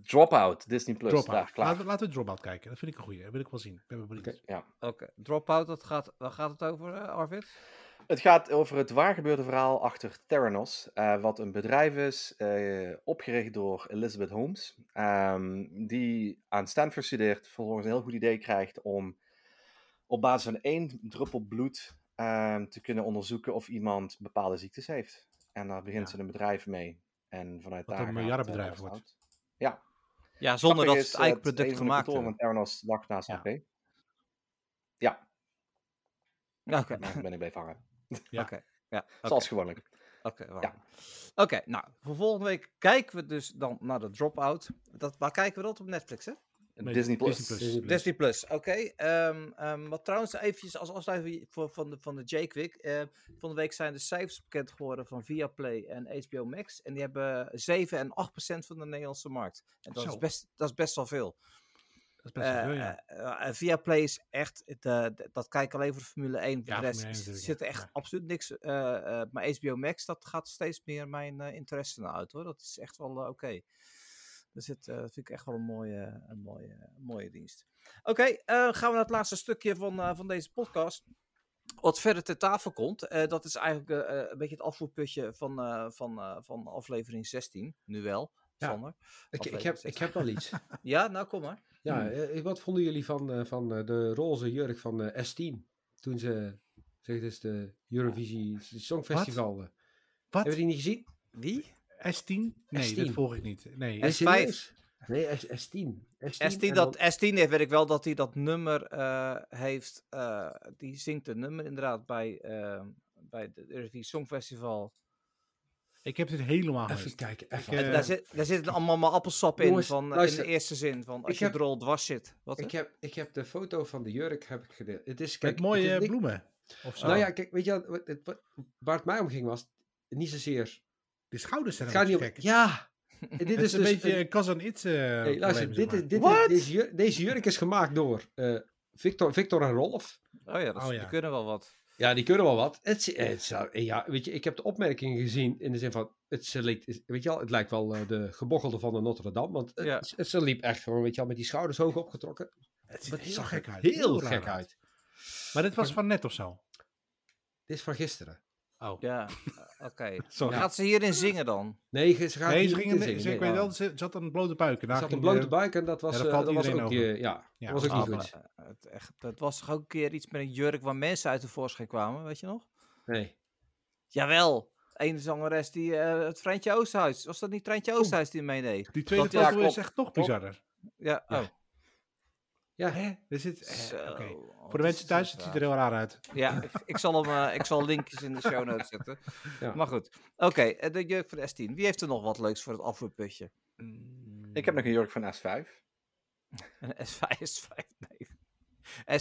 S4: Dropout, Disney Plus. Daar,
S2: Dropout.
S4: klaar.
S2: Laten, we- laten we Dropout kijken. Dat vind ik een goeie. Dat wil ik wel zien. Ik ben wel benieuwd.
S3: Oké.
S1: Oké, Dropout, dat gaat, waar gaat het over, eh, Arvid?
S4: Het gaat over het waargebeurde verhaal achter Theranos. eh, wat een bedrijf is eh, opgericht door Elizabeth Holmes. ehm, die aan Stanford studeert. Vervolgens een heel goed idee krijgt om op basis van één druppel bloed ehm, te kunnen onderzoeken of iemand bepaalde ziektes heeft. En daar begint
S2: Ja.
S4: ze een bedrijf mee. En vanuit
S2: Wat
S4: daar
S2: een
S4: gaat, eh,
S2: miljardenbedrijf wordt.
S4: Dropout. Ja,
S1: Ja, zonder dat
S4: Grappig
S1: het
S4: is, eh,
S1: eindproduct
S4: een van de
S1: gemaakt
S4: kantoren
S1: wordt.
S4: van Theranos lag naast
S2: Ja.
S4: HP. Ja,
S1: Oké,
S4: maar ben ik bleef hangen.
S2: Ja.
S1: oké. Ja, oké.
S4: Zoals gewoonlijk.
S1: Oké, waarom? Oké, nou, voor volgende week kijken we dus dan naar de Dropout. Dat, waar kijken we dat op Netflix, hè?
S2: Nee,
S4: Disney Plus.
S3: Disney Plus.
S1: Disney Plus, oké. Ehm, ehm, maar trouwens, eventjes als afsluiting voor- van de, van de J-Quick. eh, van de week zijn de cijfers bekend geworden van Viaplay en HBO Max. En die hebben 7 en 8 procent van de Nederlandse markt. En dat, is
S2: Zo.
S1: best, dat is best wel veel.
S2: Dat is best wel
S1: Eh,
S2: veel, ja.
S1: eh, eh, en Viaplay is echt, de- de- dat kijk ik alleen voor de Formule 1. Voor
S2: Ja,
S1: de rest
S2: Formule 1
S1: is-
S2: natuurlijk,
S1: zit
S2: ja.
S1: er echt
S2: Ja.
S1: absoluut niks. eh, eh, maar HBO Max, dat gaat steeds meer mijn eh, interesse naar uit hoor. Dat is echt wel eh, oké. Dat zit, eh, vind ik echt wel een mooie, een mooie, een mooie dienst. Oké, eh, gaan we naar het laatste stukje van, eh, van deze podcast. Wat verder ter tafel komt, eh, dat is eigenlijk eh, eh, een beetje het afvoerputje van, eh, van, eh, van aflevering 16. Nu wel,
S3: Ja.
S1: Sander.
S3: Ik, ik, heb,
S1: Aflevering
S3: ik heb wel iets.
S1: 16. Ja, nou kom maar.
S3: Ja,
S2: Hmm.
S3: eh, wat vonden jullie van, eh, van eh, de roze jurk van eh, S10? Toen ze, zeg dus, de Eurovisie Songfestival. eh,
S2: Wat?
S3: Hebben jullie niet gezien?
S1: Wie?
S2: S10? Nee, dat
S3: S10.
S2: volg ik niet. Nee,
S1: S-
S3: Nee, serieus? Nee, S- S10. S10,
S1: S10,
S3: en
S1: dat,
S3: dan-
S1: S10 heeft, weet ik wel dat hij dat nummer eh, heeft. eh, die zingt een nummer inderdaad bij, eh bij de Eurovisie Songfestival.
S2: ik heb dit helemaal
S3: Ah, Even
S2: gemist.
S3: kijken, even.
S2: eh,
S1: daar, zit, daar zit allemaal maar appelsap in,
S3: Jongens,
S1: van, eh,
S3: luister.
S1: in de eerste zin. Van als
S3: Ik
S1: je
S3: heb-
S1: er al dwars zit. Wat, hè?
S3: ik, heb, ik heb de foto van de jurk heb ik gedeeld. Het is, kijk,
S2: Met
S3: het
S2: mooie Oh.
S3: is
S2: eh,
S3: nik-
S2: bloemen. Of zo.
S3: Nou ja, kijk, weet je wat- wat- het- wat- waar het mij om ging was, niet zozeer...
S2: de schouders zijn
S3: Het
S2: een
S3: gaat niet
S2: beetje
S3: om...
S2: gek.
S3: Ja! En dit
S2: Het is een
S3: dus
S2: beetje een Kazan Itz eh
S3: Hey, luister,
S2: probleem, zeg
S3: dit, is-
S2: maar.
S1: What?
S3: dit, is- deze, jurk, deze jurk is gemaakt door eh, Victor, Victor en Rolf.
S1: oh ja, dat, is-
S2: Oh ja.
S1: die kunnen wel wat.
S3: Ja, die kunnen wel wat. Het, is- het zou- eh, ja, weet je, ik heb de opmerkingen gezien in de zin van, het, ze leek, is- weet je wel, het lijkt wel eh, de gebochelde van de Notre Dame, want het-
S1: Ja.
S3: ze, ze liep echt gewoon, weet je wel, met die schouders hoog opgetrokken.
S2: Het ziet
S3: Maar
S2: er
S3: het
S2: heel
S3: zag
S2: gek
S3: er
S2: uit.
S3: Heel
S2: raar
S3: gek uit.
S2: Maar dit was van net of zo.
S3: Dit is van gisteren.
S2: Oh.
S1: Ja, eh, oké.
S2: Sorry.
S1: Gaat ze hierin zingen dan?
S3: Nee, ge- ze gaat
S2: nee,
S3: niet
S2: ze gingen,
S3: in zingen,
S2: ze, ik
S3: nee.
S2: weet wel, ze ze had een blote buik. en
S3: Er
S2: daar
S3: zat een
S2: ging
S3: blote
S2: de-
S3: buik en dat was,
S2: daar
S3: eh,
S2: valt
S3: dat was
S2: iedereen
S3: ook,
S2: over.
S3: eh, ja,
S2: Ja,
S3: dat was ook
S1: Ah,
S3: niet
S1: maar,
S3: goed.
S1: eh, het, echt, het was toch ook een keer iets met een jurk waar mensen uit de voorschijn kwamen, weet je nog?
S3: Nee.
S1: Jawel. Eén zangeres die eh, het Treintje Oosterhuis. Was dat niet Treintje Oosterhuis die meedeed?
S2: Die tweede
S1: Dat- ja,
S2: foto is
S4: klopt.
S2: echt nog
S4: Klopt.
S2: bizarder.
S1: Ja,
S3: Ja.
S1: oh.
S3: Ja,
S2: Hè? Er zit, eh,
S1: Zo,
S2: oké.
S1: oh,
S2: Voor de
S1: dit
S2: mensen
S1: is
S2: thuis,
S1: echt
S2: het ziet er
S1: raar.
S2: heel raar uit.
S1: Ja, ik, ik zal, hem, eh, ik zal linkjes in de show notes zetten.
S3: Ja.
S1: Maar goed. Oké, eh, de jurk van de S10. Wie heeft er nog wat leuks voor het afvoerputje?
S4: Mm. Ik heb nog een jurk van S5.
S1: Een S5, S5, nee.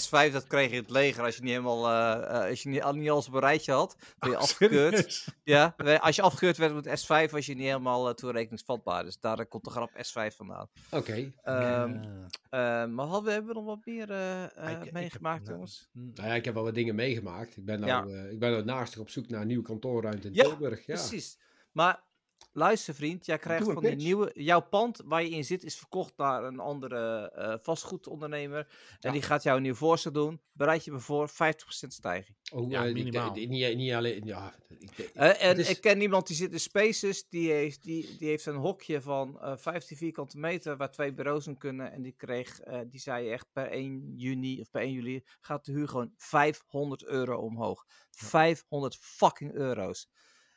S1: S5, dat kreeg je in het leger als je niet helemaal, eh, eh, als je niet, al- niet alles op een rijtje had. Ben je afgekeurd.
S2: Oh, Serieus?
S1: Ja, we- als je afgekeurd werd met S5, was je niet helemaal eh, toerekeningsvatbaar. Dus daar eh, komt de grap S5 vandaan.
S3: oké.
S1: Ehm,
S2: Eh,
S1: eh, maar hadden we, hebben we nog wat meer eh, eh,
S2: ik heb-
S1: meegemaakt,
S2: nou,
S1: jongens?
S3: Nou ja, ik heb wel wat dingen meegemaakt. Ik ben nou,
S1: Ja.
S3: eh, ik ben nou naastig op zoek naar een nieuwe kantoorruimte in
S1: Ja,
S3: Tilburg. Ja,
S1: Precies. Maar luister vriend, jij krijgt
S4: een
S1: van die
S4: pitch.
S1: nieuwe... Jouw pand waar je in zit is verkocht naar een andere eh, vastgoedondernemer. En
S3: Ja.
S1: die gaat jou een nieuw voorstel doen. Bereid je me voor 50% stijging.
S3: Oh,
S2: Ja,
S3: eh, die-
S2: minimaal.
S3: die- niet, niet alleen. Ja, ik, ik-
S1: Eh, en
S3: het is-
S1: ik ken iemand die zit in Spaces. Die heeft, die, die heeft een hokje van eh 15 vierkante meter waar twee bureaus in kunnen. En die, kreeg, eh, die zei echt per 1 juni of per 1 juli gaat de huur gewoon 500 euro omhoog. 500 fucking euro's.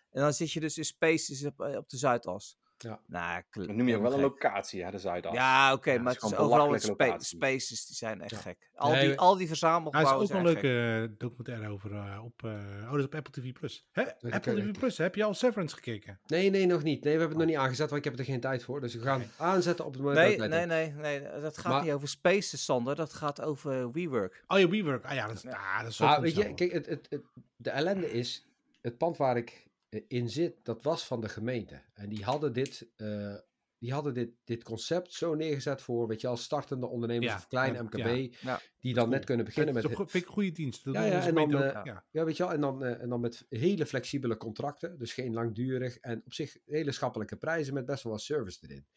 S1: En dan zit je dus in Spaces op, eh, op de Zuidas.
S3: Ja.
S1: Nou, kl-
S4: Dan noem je ook wel een
S1: helemaal gek.
S4: locatie, hè, de Zuidas.
S1: Ja, oké,
S4: Ja, het
S1: maar
S4: is
S1: het is
S4: gewoon
S1: overal met
S4: belachelijke
S1: spa-
S4: locatie.
S1: spaces, die zijn echt
S3: Ja.
S1: gek. Al
S3: Nee,
S1: die, al
S3: we-
S1: die
S2: Nou, er is
S1: verzamelgebouwen
S2: ook
S1: zijn
S2: een
S1: echt gek.
S2: leuke documentaire over eh, op, eh, oh, dat is op Apple TV+. Plus. Hè?
S3: kan
S2: Apple
S3: ik-
S2: TV+, Plus, heb je al Severance gekeken?
S3: nee, nee, nog niet. Nee, we hebben het
S2: Oh.
S3: nog niet aangezet, want ik heb er geen tijd voor. Dus we gaan aanzetten op het moment.
S1: Nee,
S3: dat ik
S1: nee,
S3: tijd
S1: nee, nee, dat gaat
S3: Maar-
S1: niet over spaces, Sander. Dat gaat over WeWork.
S2: Oh ja, WeWork. Ah ja, dat is, ah, dat is
S3: heb.
S2: soms
S3: Maar weet je,
S2: hetzelfde.
S3: kijk, het, het, het- de ellende is, het pand waar ik eh, in zit, dat was van de gemeente. En die hadden dit, eh, die hadden dit, dit concept zo neergezet voor, weet je, als startende ondernemers
S2: Ja,
S3: of klein
S2: ja,
S3: MKB,
S1: ja.
S3: die dan net kunnen beginnen
S2: Dat
S3: met
S2: is een go- vind ik een goede dienst. Dat
S3: Ja,
S2: doen
S3: ja,
S2: onze
S3: en dan,
S2: gemeenten ook,
S1: eh,
S2: ja.
S3: Ja, weet je wel, en dan, eh, en dan met hele flexibele contracten, dus geen langdurig en op zich hele schappelijke prijzen met best wel wat service erin.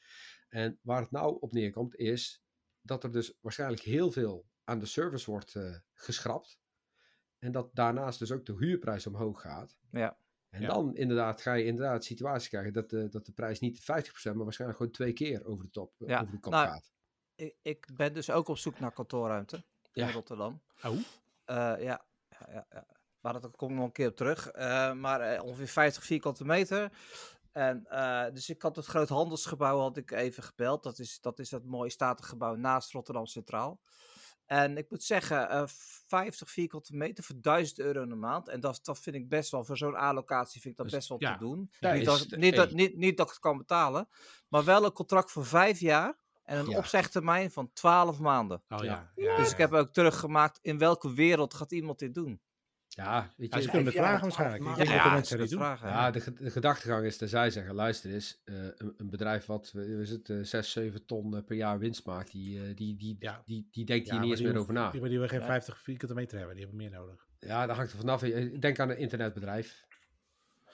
S3: En waar het nou op neerkomt is dat er dus waarschijnlijk heel veel aan de service wordt eh, geschrapt en dat daarnaast dus ook de huurprijs omhoog gaat.
S1: Ja.
S3: En
S2: Ja.
S3: dan inderdaad ga je inderdaad situaties krijgen dat de, dat de prijs niet 50%, maar waarschijnlijk gewoon twee keer over de, top, eh,
S1: Ja,
S3: over de kop
S1: nou,
S3: gaat.
S1: Ik, ik ben dus ook op zoek naar kantoorruimte in
S3: Ja.
S1: Rotterdam.
S2: Oh,
S1: Eh, ja, ja, ja, ja. Maar dat kom ik nog een keer op terug. Eh, maar eh, ongeveer 50 vierkante meter. En, eh, dus ik had het groot handelsgebouw had ik even gebeld. Dat is dat, is dat mooie statengebouw naast Rotterdam Centraal. En ik moet zeggen, eh, 50 vierkante meter voor 1000 euro in de maand. En dat, dat vind ik best wel, voor zo'n A-locatie vind ik dat
S2: Dus,
S1: best wel
S2: ja,
S1: te doen.
S3: daar
S1: niet,
S3: is
S1: dat,
S3: de-
S1: niet, dat,
S3: hey.
S1: niet, niet dat ik het kan betalen, maar wel een contract voor vijf jaar en een
S3: Ja.
S1: opzegtermijn van 12 maanden.
S2: Oh ja.
S1: Dus ik heb ook teruggemaakt, in welke wereld gaat iemand dit doen?
S3: Ja, weet
S2: Ja,
S3: je,
S2: ze kunnen het
S3: ja,
S2: vragen waarschijnlijk. Ik
S3: maanden.
S2: denk dat de
S1: dat
S2: mensen
S1: is
S2: dat
S1: de
S2: doen.
S1: vraag, hè.
S3: Ja, de, ge- de gedachtegang is dat zij zeggen, luister eens, eh, een, een bedrijf wat, eh, wat is het, eh, 6, 7 ton eh, per jaar winst maakt, die, eh, die, die,
S2: Ja.
S3: die, die denkt hier niet
S2: Ja, maar
S3: eens
S2: die
S3: meer
S2: hoeft-
S3: over na.
S2: Die, maar die hebben geen
S1: Ja.
S2: 50 vierkante meter hebben, die hebben meer nodig.
S3: Ja, dat hangt er vanaf. Eh, Denk aan een internetbedrijf.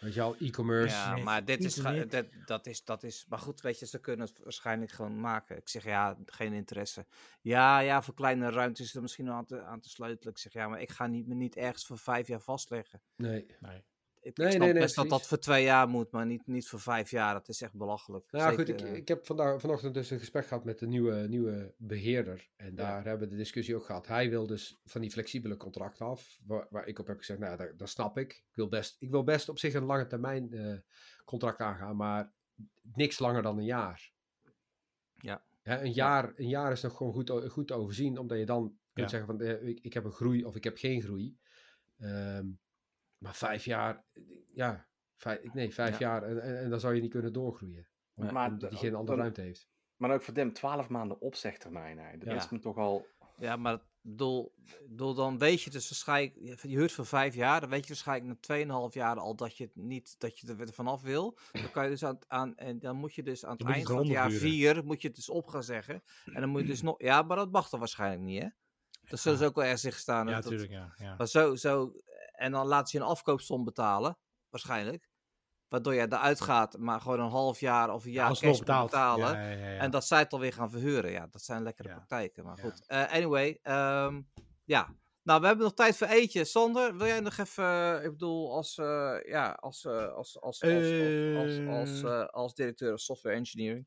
S3: Weet je al, e-commerce.
S1: Ja,
S2: Nee,
S1: maar dit
S2: niet
S1: is, ga-
S2: direct.
S1: dat, dat is, dat is... Maar goed, weet je, ze kunnen het waarschijnlijk gewoon maken. Ik zeg, ja, geen interesse. Ja, ja, voor kleine ruimtes is er misschien wel aan te, aan te sleutelen. Ik zeg, ja, maar ik ga niet, me niet ergens voor vijf jaar vastleggen.
S3: Nee.
S2: Nee.
S1: Ik,
S3: Nee,
S1: ik snap
S3: nee, nee,
S1: best dat dat
S3: precies.
S1: voor twee jaar moet, maar niet, niet voor vijf jaar. Dat is echt belachelijk.
S3: Nou
S1: Zeker,
S3: goed, ik,
S1: eh,
S3: ik heb vandaag, vanochtend dus een gesprek gehad met de nieuwe, nieuwe beheerder. En daar hebben we de discussie ook gehad. Hij wil dus van die flexibele contracten af. Waar, waar ik op heb gezegd, nou, dat, dat snap ik. Ik wil, best, ik wil best op zich een lange termijn eh, contract aangaan, maar niks langer dan een jaar.
S1: Ja.
S3: Hè, een, jaar een jaar is nog gewoon goed, o- goed te overzien, omdat je dan kunt
S2: Ja.
S3: zeggen van eh, ik, ik heb een groei of ik heb geen groei. Ehm, maar vijf jaar, eh, ja, vijf, nee, vijf jaar en, en, en dan zou je niet kunnen doorgroeien. Om-
S4: Maar
S3: omdat
S4: de-
S3: hij geen andere
S4: dan-
S3: ruimte heeft.
S4: Maar ook voor Dem, 12 maanden opzegtermijn. Hè. Dat
S1: Ja.
S4: is me toch al.
S1: Ja, maar ik bedoel, ik bedoel, dan weet je dus waarschijnlijk... Je je huurt voor vijf jaar, dan weet je waarschijnlijk na 2,5 jaar al dat je, het niet, dat je er vanaf wil. Dan, kan je dus aan, het- aan, en dan moet je dus aan het
S2: Dan moet je
S1: eind
S2: het
S1: van het jaar
S2: eronder
S1: vier moet je het dus op gaan zeggen. En dan moet je dus nog... Ja, maar dat mag dan waarschijnlijk niet, hè? Dat zullen ze ook wel ergens zich staan.
S2: Ja,
S1: dat- dat-
S2: natuurlijk. Ja, ja.
S1: Maar zo, zo... En dan laat ze je een afkoopsom betalen, waarschijnlijk. Waardoor jij eruit gaat, maar gewoon een half jaar of een jaar
S2: Alsnog
S1: cash moet
S2: betaald.
S1: betalen.
S2: Ja, ja, ja, ja.
S1: En dat zij het alweer gaan verhuren. Ja, dat zijn lekkere
S2: Ja.
S1: praktijken. Maar
S2: Ja.
S1: goed. Eh, anyway, ehm, ja. Nou, we hebben nog tijd voor eentje. Sander, wil jij nog even, eh, ik bedoel, als, eh, ja, als, eh, als, als, als, als, als, als,
S2: Eh.
S1: eh, als directeur of software engineering?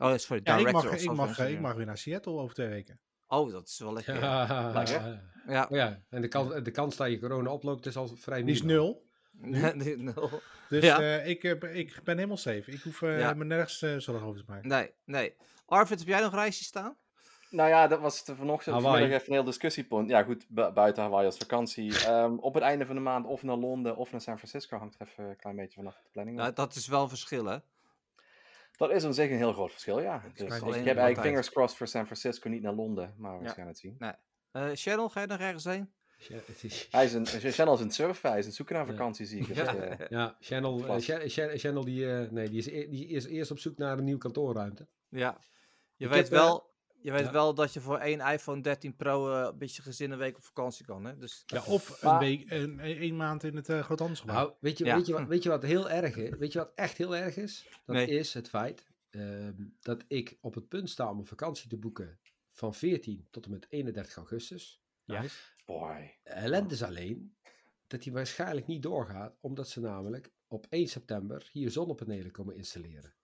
S1: oh, sorry,
S2: Ja,
S1: director
S2: ik mag,
S1: of
S2: ik,
S1: software
S2: mag, eh, ik
S1: engineering.
S2: mag weer naar Seattle over twee weken.
S1: Oh, dat is wel lekker. Ja,
S3: Ja.
S4: Lekker.
S1: ja.
S3: Oh ja, en de kans, de kans dat je corona oploopt is al vrij
S2: Die is
S3: minimaal.
S2: nul.
S1: Nee, nul.
S2: Dus
S1: Ja.
S2: eh, ik, heb- ik ben helemaal safe. Ik hoef eh,
S1: Ja.
S2: me nergens eh, zorgen over te maken.
S1: nee, nee. Arvid, heb jij nog reisjes staan?
S4: Nou ja, dat was de vanochtend
S3: Hawaii.
S4: vanmiddag even een heel discussiepunt. Ja, goed, bu- buiten Hawaii als vakantie. Ehm, op het einde van de maand of naar Londen of naar San Francisco. Hangt er even een klein beetje vanaf de planning.
S1: Nou,
S4: af.
S1: dat is wel een verschil, hè?
S4: Dat is op zich een heel groot verschil, ja.
S1: Het is
S4: Dus
S1: alleen
S4: ik
S1: de
S4: heb eigenlijk
S1: tijd.
S4: fingers crossed voor San Francisco, niet naar Londen. Maar we
S1: Ja.
S4: gaan het zien.
S1: Eh Cheryl, ga je nog ergens heen?
S3: Ja, het is-
S4: Hij is een, Channel is een surfer, hij is een zoeken naar
S3: Ja.
S4: vakantie, zie ik. Dus,
S1: Ja.
S4: eh,
S3: Ja, Channel, eh,
S4: Klas.
S3: Cha- Cha- Channel die, eh, nee, die, is, e- die is eerst op zoek naar een nieuwe kantoorruimte.
S1: Ja, je
S3: Ik
S1: weet,
S3: heb, eh,
S1: wel, je weet
S3: ja.
S1: wel dat je voor één iPhone 13 Pro eh, een beetje gezin een week op vakantie kan. Hè? Dus
S2: Ja, of een
S4: Maar-
S2: week, een, een, één maand in het eh groothandelsgebouw.
S3: Nou, weet je,
S1: Ja.
S3: weet, je wat, weet je wat heel erg is? Weet je wat echt heel erg is? Dat
S1: Nee.
S3: is het feit ehm, dat ik op het punt sta om een vakantie te boeken van 14 tot en met 31 augustus.
S4: boy.
S3: De ellende is alleen dat die waarschijnlijk niet doorgaat, omdat ze namelijk op 1 september hier zonnepanelen komen installeren.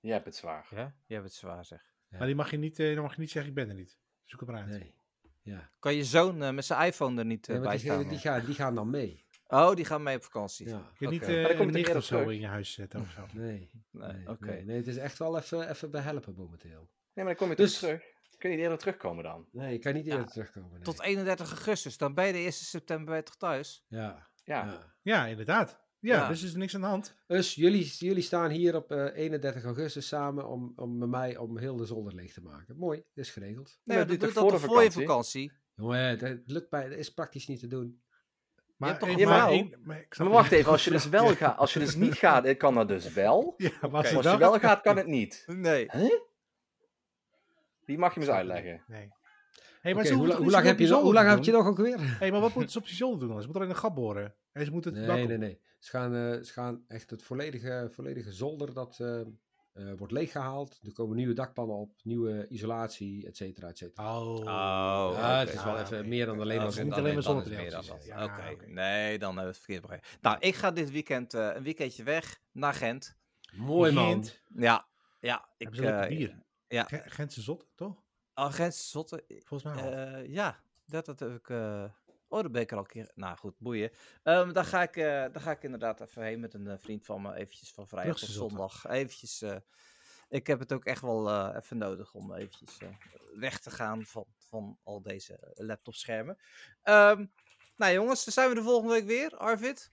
S4: Je hebt het zwaar.
S1: ja, je hebt het zwaar zeg.
S2: Maar die mag je niet, eh, dan mag je niet zeggen, ik ben er niet. Zoek hem maar uit.
S3: Nee. Ja.
S1: Kan je zoon eh, met zijn iPhone er niet eh,
S3: Nee, maar
S1: bij
S3: die,
S1: staan?
S3: die, gaan, die gaan dan mee.
S1: Oh, die gaan mee op vakantie.
S3: Ja.
S2: Je
S1: Oké.
S2: niet
S1: Maar
S2: eh
S4: dan kom je
S2: een
S4: toch
S2: nicht
S4: eerder
S2: of zo
S4: terug?
S2: in je huis zetten of zo.
S3: Nee.
S1: Nee,
S3: nee,
S1: Oké.
S3: nee, nee, het is echt wel even, even behelpen momenteel.
S4: Nee, maar dan kom je
S3: Dus-
S4: dus terug. Kun je niet eerder terugkomen dan?
S3: Nee, ik kan niet eerder
S1: Ja,
S3: terugkomen. nee.
S1: Tot 31 augustus, dan ben je de 1 september weer terug thuis.
S3: Ja.
S4: Ja.
S3: ja.
S2: Ja, inderdaad. Ja,
S1: Ja.
S2: dus is er niks aan de hand.
S3: Dus jullie, jullie staan hier op eh, 31 augustus samen om, om met mij om heel de zolder leeg te maken. Mooi, dat is geregeld.
S1: Nee,
S4: dat
S1: maar
S4: doe
S1: doe
S4: je toch
S1: dat
S4: voor
S1: toch
S4: de
S1: voor je
S4: vakantie?
S1: vakantie.
S3: Jongen, dat lukt bij, dat is praktisch niet te doen.
S2: Maar,
S1: hebt toch
S2: eh,
S1: een
S2: maar
S4: vrouw?
S2: één- maar ik snap
S4: Maar
S2: niet-
S4: wacht even, als je dus wel gaat, als je dus niet gaat, eh, kan dat dus wel.
S2: Ja, maar
S4: Maar
S2: als
S4: als
S2: het
S4: je wel gaat, kan het niet.
S1: Nee.
S4: Die mag je me eens uitleggen.
S2: Nee. Hey,
S3: Oké,
S2: maar ze
S3: hoe,
S2: moeten
S3: la-
S2: toch
S3: hoe
S2: iets
S3: lang
S2: heel
S3: heb je, nog- hoe
S2: bijzonders
S3: lang heb je
S2: doen?
S3: nog ook weer?
S2: hey, maar wat moeten ze op de zolder doen? dan? Ze moeten alleen een gat boren. En ze moeten het dak
S3: Nee,
S2: op.
S3: nee, nee. Ze gaan, eh, ze gaan echt het volledige, volledige zolder dat eh, eh, wordt leeggehaald. Er komen nieuwe dakpannen op, nieuwe isolatie, et cetera, et cetera.
S2: Oh.
S1: Oh,
S3: Ja, het is wel
S2: Ah,
S3: even
S2: oké.
S3: meer dan alleen
S2: Ah,
S3: maar
S1: Oké,
S2: het is niet
S1: dan-
S2: alleen maar
S1: dan is het
S2: zonnepanelen.
S1: meer dan dat.
S2: precies. Ja,
S1: Oké.
S2: oké.
S1: Nee, dan hebben we het verkeerd begrepen. Nou, ik ga dit weekend eh, een weekendje weg naar Gent.
S3: Mooi man.
S2: Gent.
S1: Ja, ja. Ik,
S2: Hebben ze lekker
S1: eh,
S2: bier?
S1: ja.
S2: Ge- Gentse zot, toch?
S1: Oh, Gent is zotte.
S2: Volgens mij wel.
S1: Eh, ja, dat, dat heb ik. eh Oh, dat ben ik er al een keer. Nou goed, boeien. Ehm daar, ga ik, eh daar ga ik inderdaad even heen met een eh, vriend van me. Eventjes van vrijdag
S2: Brugse
S1: tot
S2: zotte.
S1: zondag. Eventjes, eh, ik heb het ook echt wel eh, even nodig om eventjes eh, weg te gaan van, van al deze laptopschermen. Ehm, nou jongens, dan zijn we de volgende week weer. Arvid?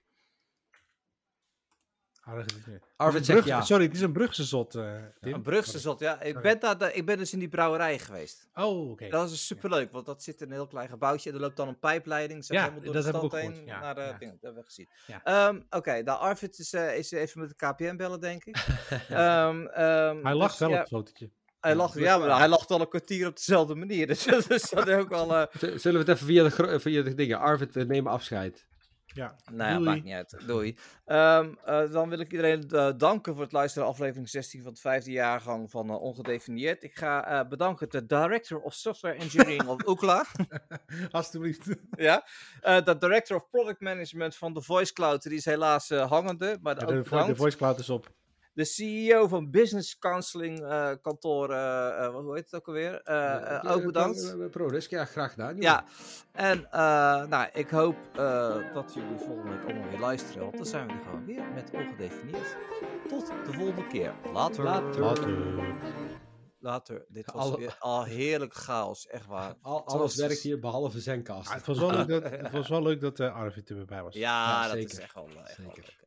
S2: Ah, dat is het niet.
S3: Arvid
S2: Een
S3: zegt
S2: brug-
S3: ja.
S2: Sorry, het is een Brugse zot, eh, Tim.
S1: Een Brugse zot, ja. Ik
S2: Sorry.
S1: ben, daar, daar- ik ben dus in die brouwerij geweest.
S2: Oh, oké.
S1: Dat is dus superleuk, want dat zit in een heel klein gebouwtje. En er loopt dan een pijpleiding. Zo
S2: Ja,
S1: helemaal door
S2: dat
S1: de
S2: heb ik
S1: stad
S2: ook
S1: heen
S2: gehoord. Ja,
S1: naar de
S2: ja.
S1: dingen. Dat hebben we gezien.
S2: Ja.
S1: Ehm, Oké, nou Arvid is, eh, is even met de KPM bellen, denk ik. Ehm, ehm,
S2: Hij lacht
S1: dus
S2: wel
S1: ja,
S2: op het fotootje.
S1: Hij lacht, ja, maar hij lacht al een kwartier op dezelfde manier. Dus dat is dan ook al... eh,
S3: Z- Zullen we het even via de, gro- via de dingen. Arvid, we nemen afscheid.
S2: Ja.
S1: Nou ja,
S2: Doei.
S1: maakt niet uit. Doei. Ehm, eh, dan wil ik iedereen eh, danken voor het luisteren naar aflevering 16 van het vijfde jaargang van eh, Ongedefinieerd. Ik ga eh, bedanken de Director of Software Engineering of Oekla.
S2: Alsjeblieft.
S1: ja. Eh, de Director of Product Management van de Voice Cloud. Die is helaas eh, hangende, maar
S2: Ja,
S1: ook
S2: de, vo- de
S1: bedankt.
S2: voice cloud is op.
S1: De CEO van Business Counseling eh kantoren, eh, eh, hoe heet het ook alweer? Eh, eh,
S3: Eh,
S1: ook
S3: eh,
S1: bedankt.
S3: eh, eh, ProRisk, ja, graag gedaan. jongen.
S1: Ja, en eh, nou, ik hoop eh, dat jullie volgende week allemaal weer luisteren. Want dan zijn we er gewoon weer met ongedefinieerd. Tot de volgende keer. Later.
S3: Later.
S1: Later. Dit was
S3: Alle-
S1: weer al heerlijk chaos, echt waar.
S3: Al,
S1: Het was-
S3: alles werkt hier behalve Zenkast.
S1: Ah,
S2: Ah, het, was wel leuk dat, het was wel leuk dat eh, Arvid erbij was.
S1: Ja,
S3: Ja,
S1: dat
S3: zeker.
S1: is echt wel, eh, echt wel
S3: Zeker.
S1: leuk.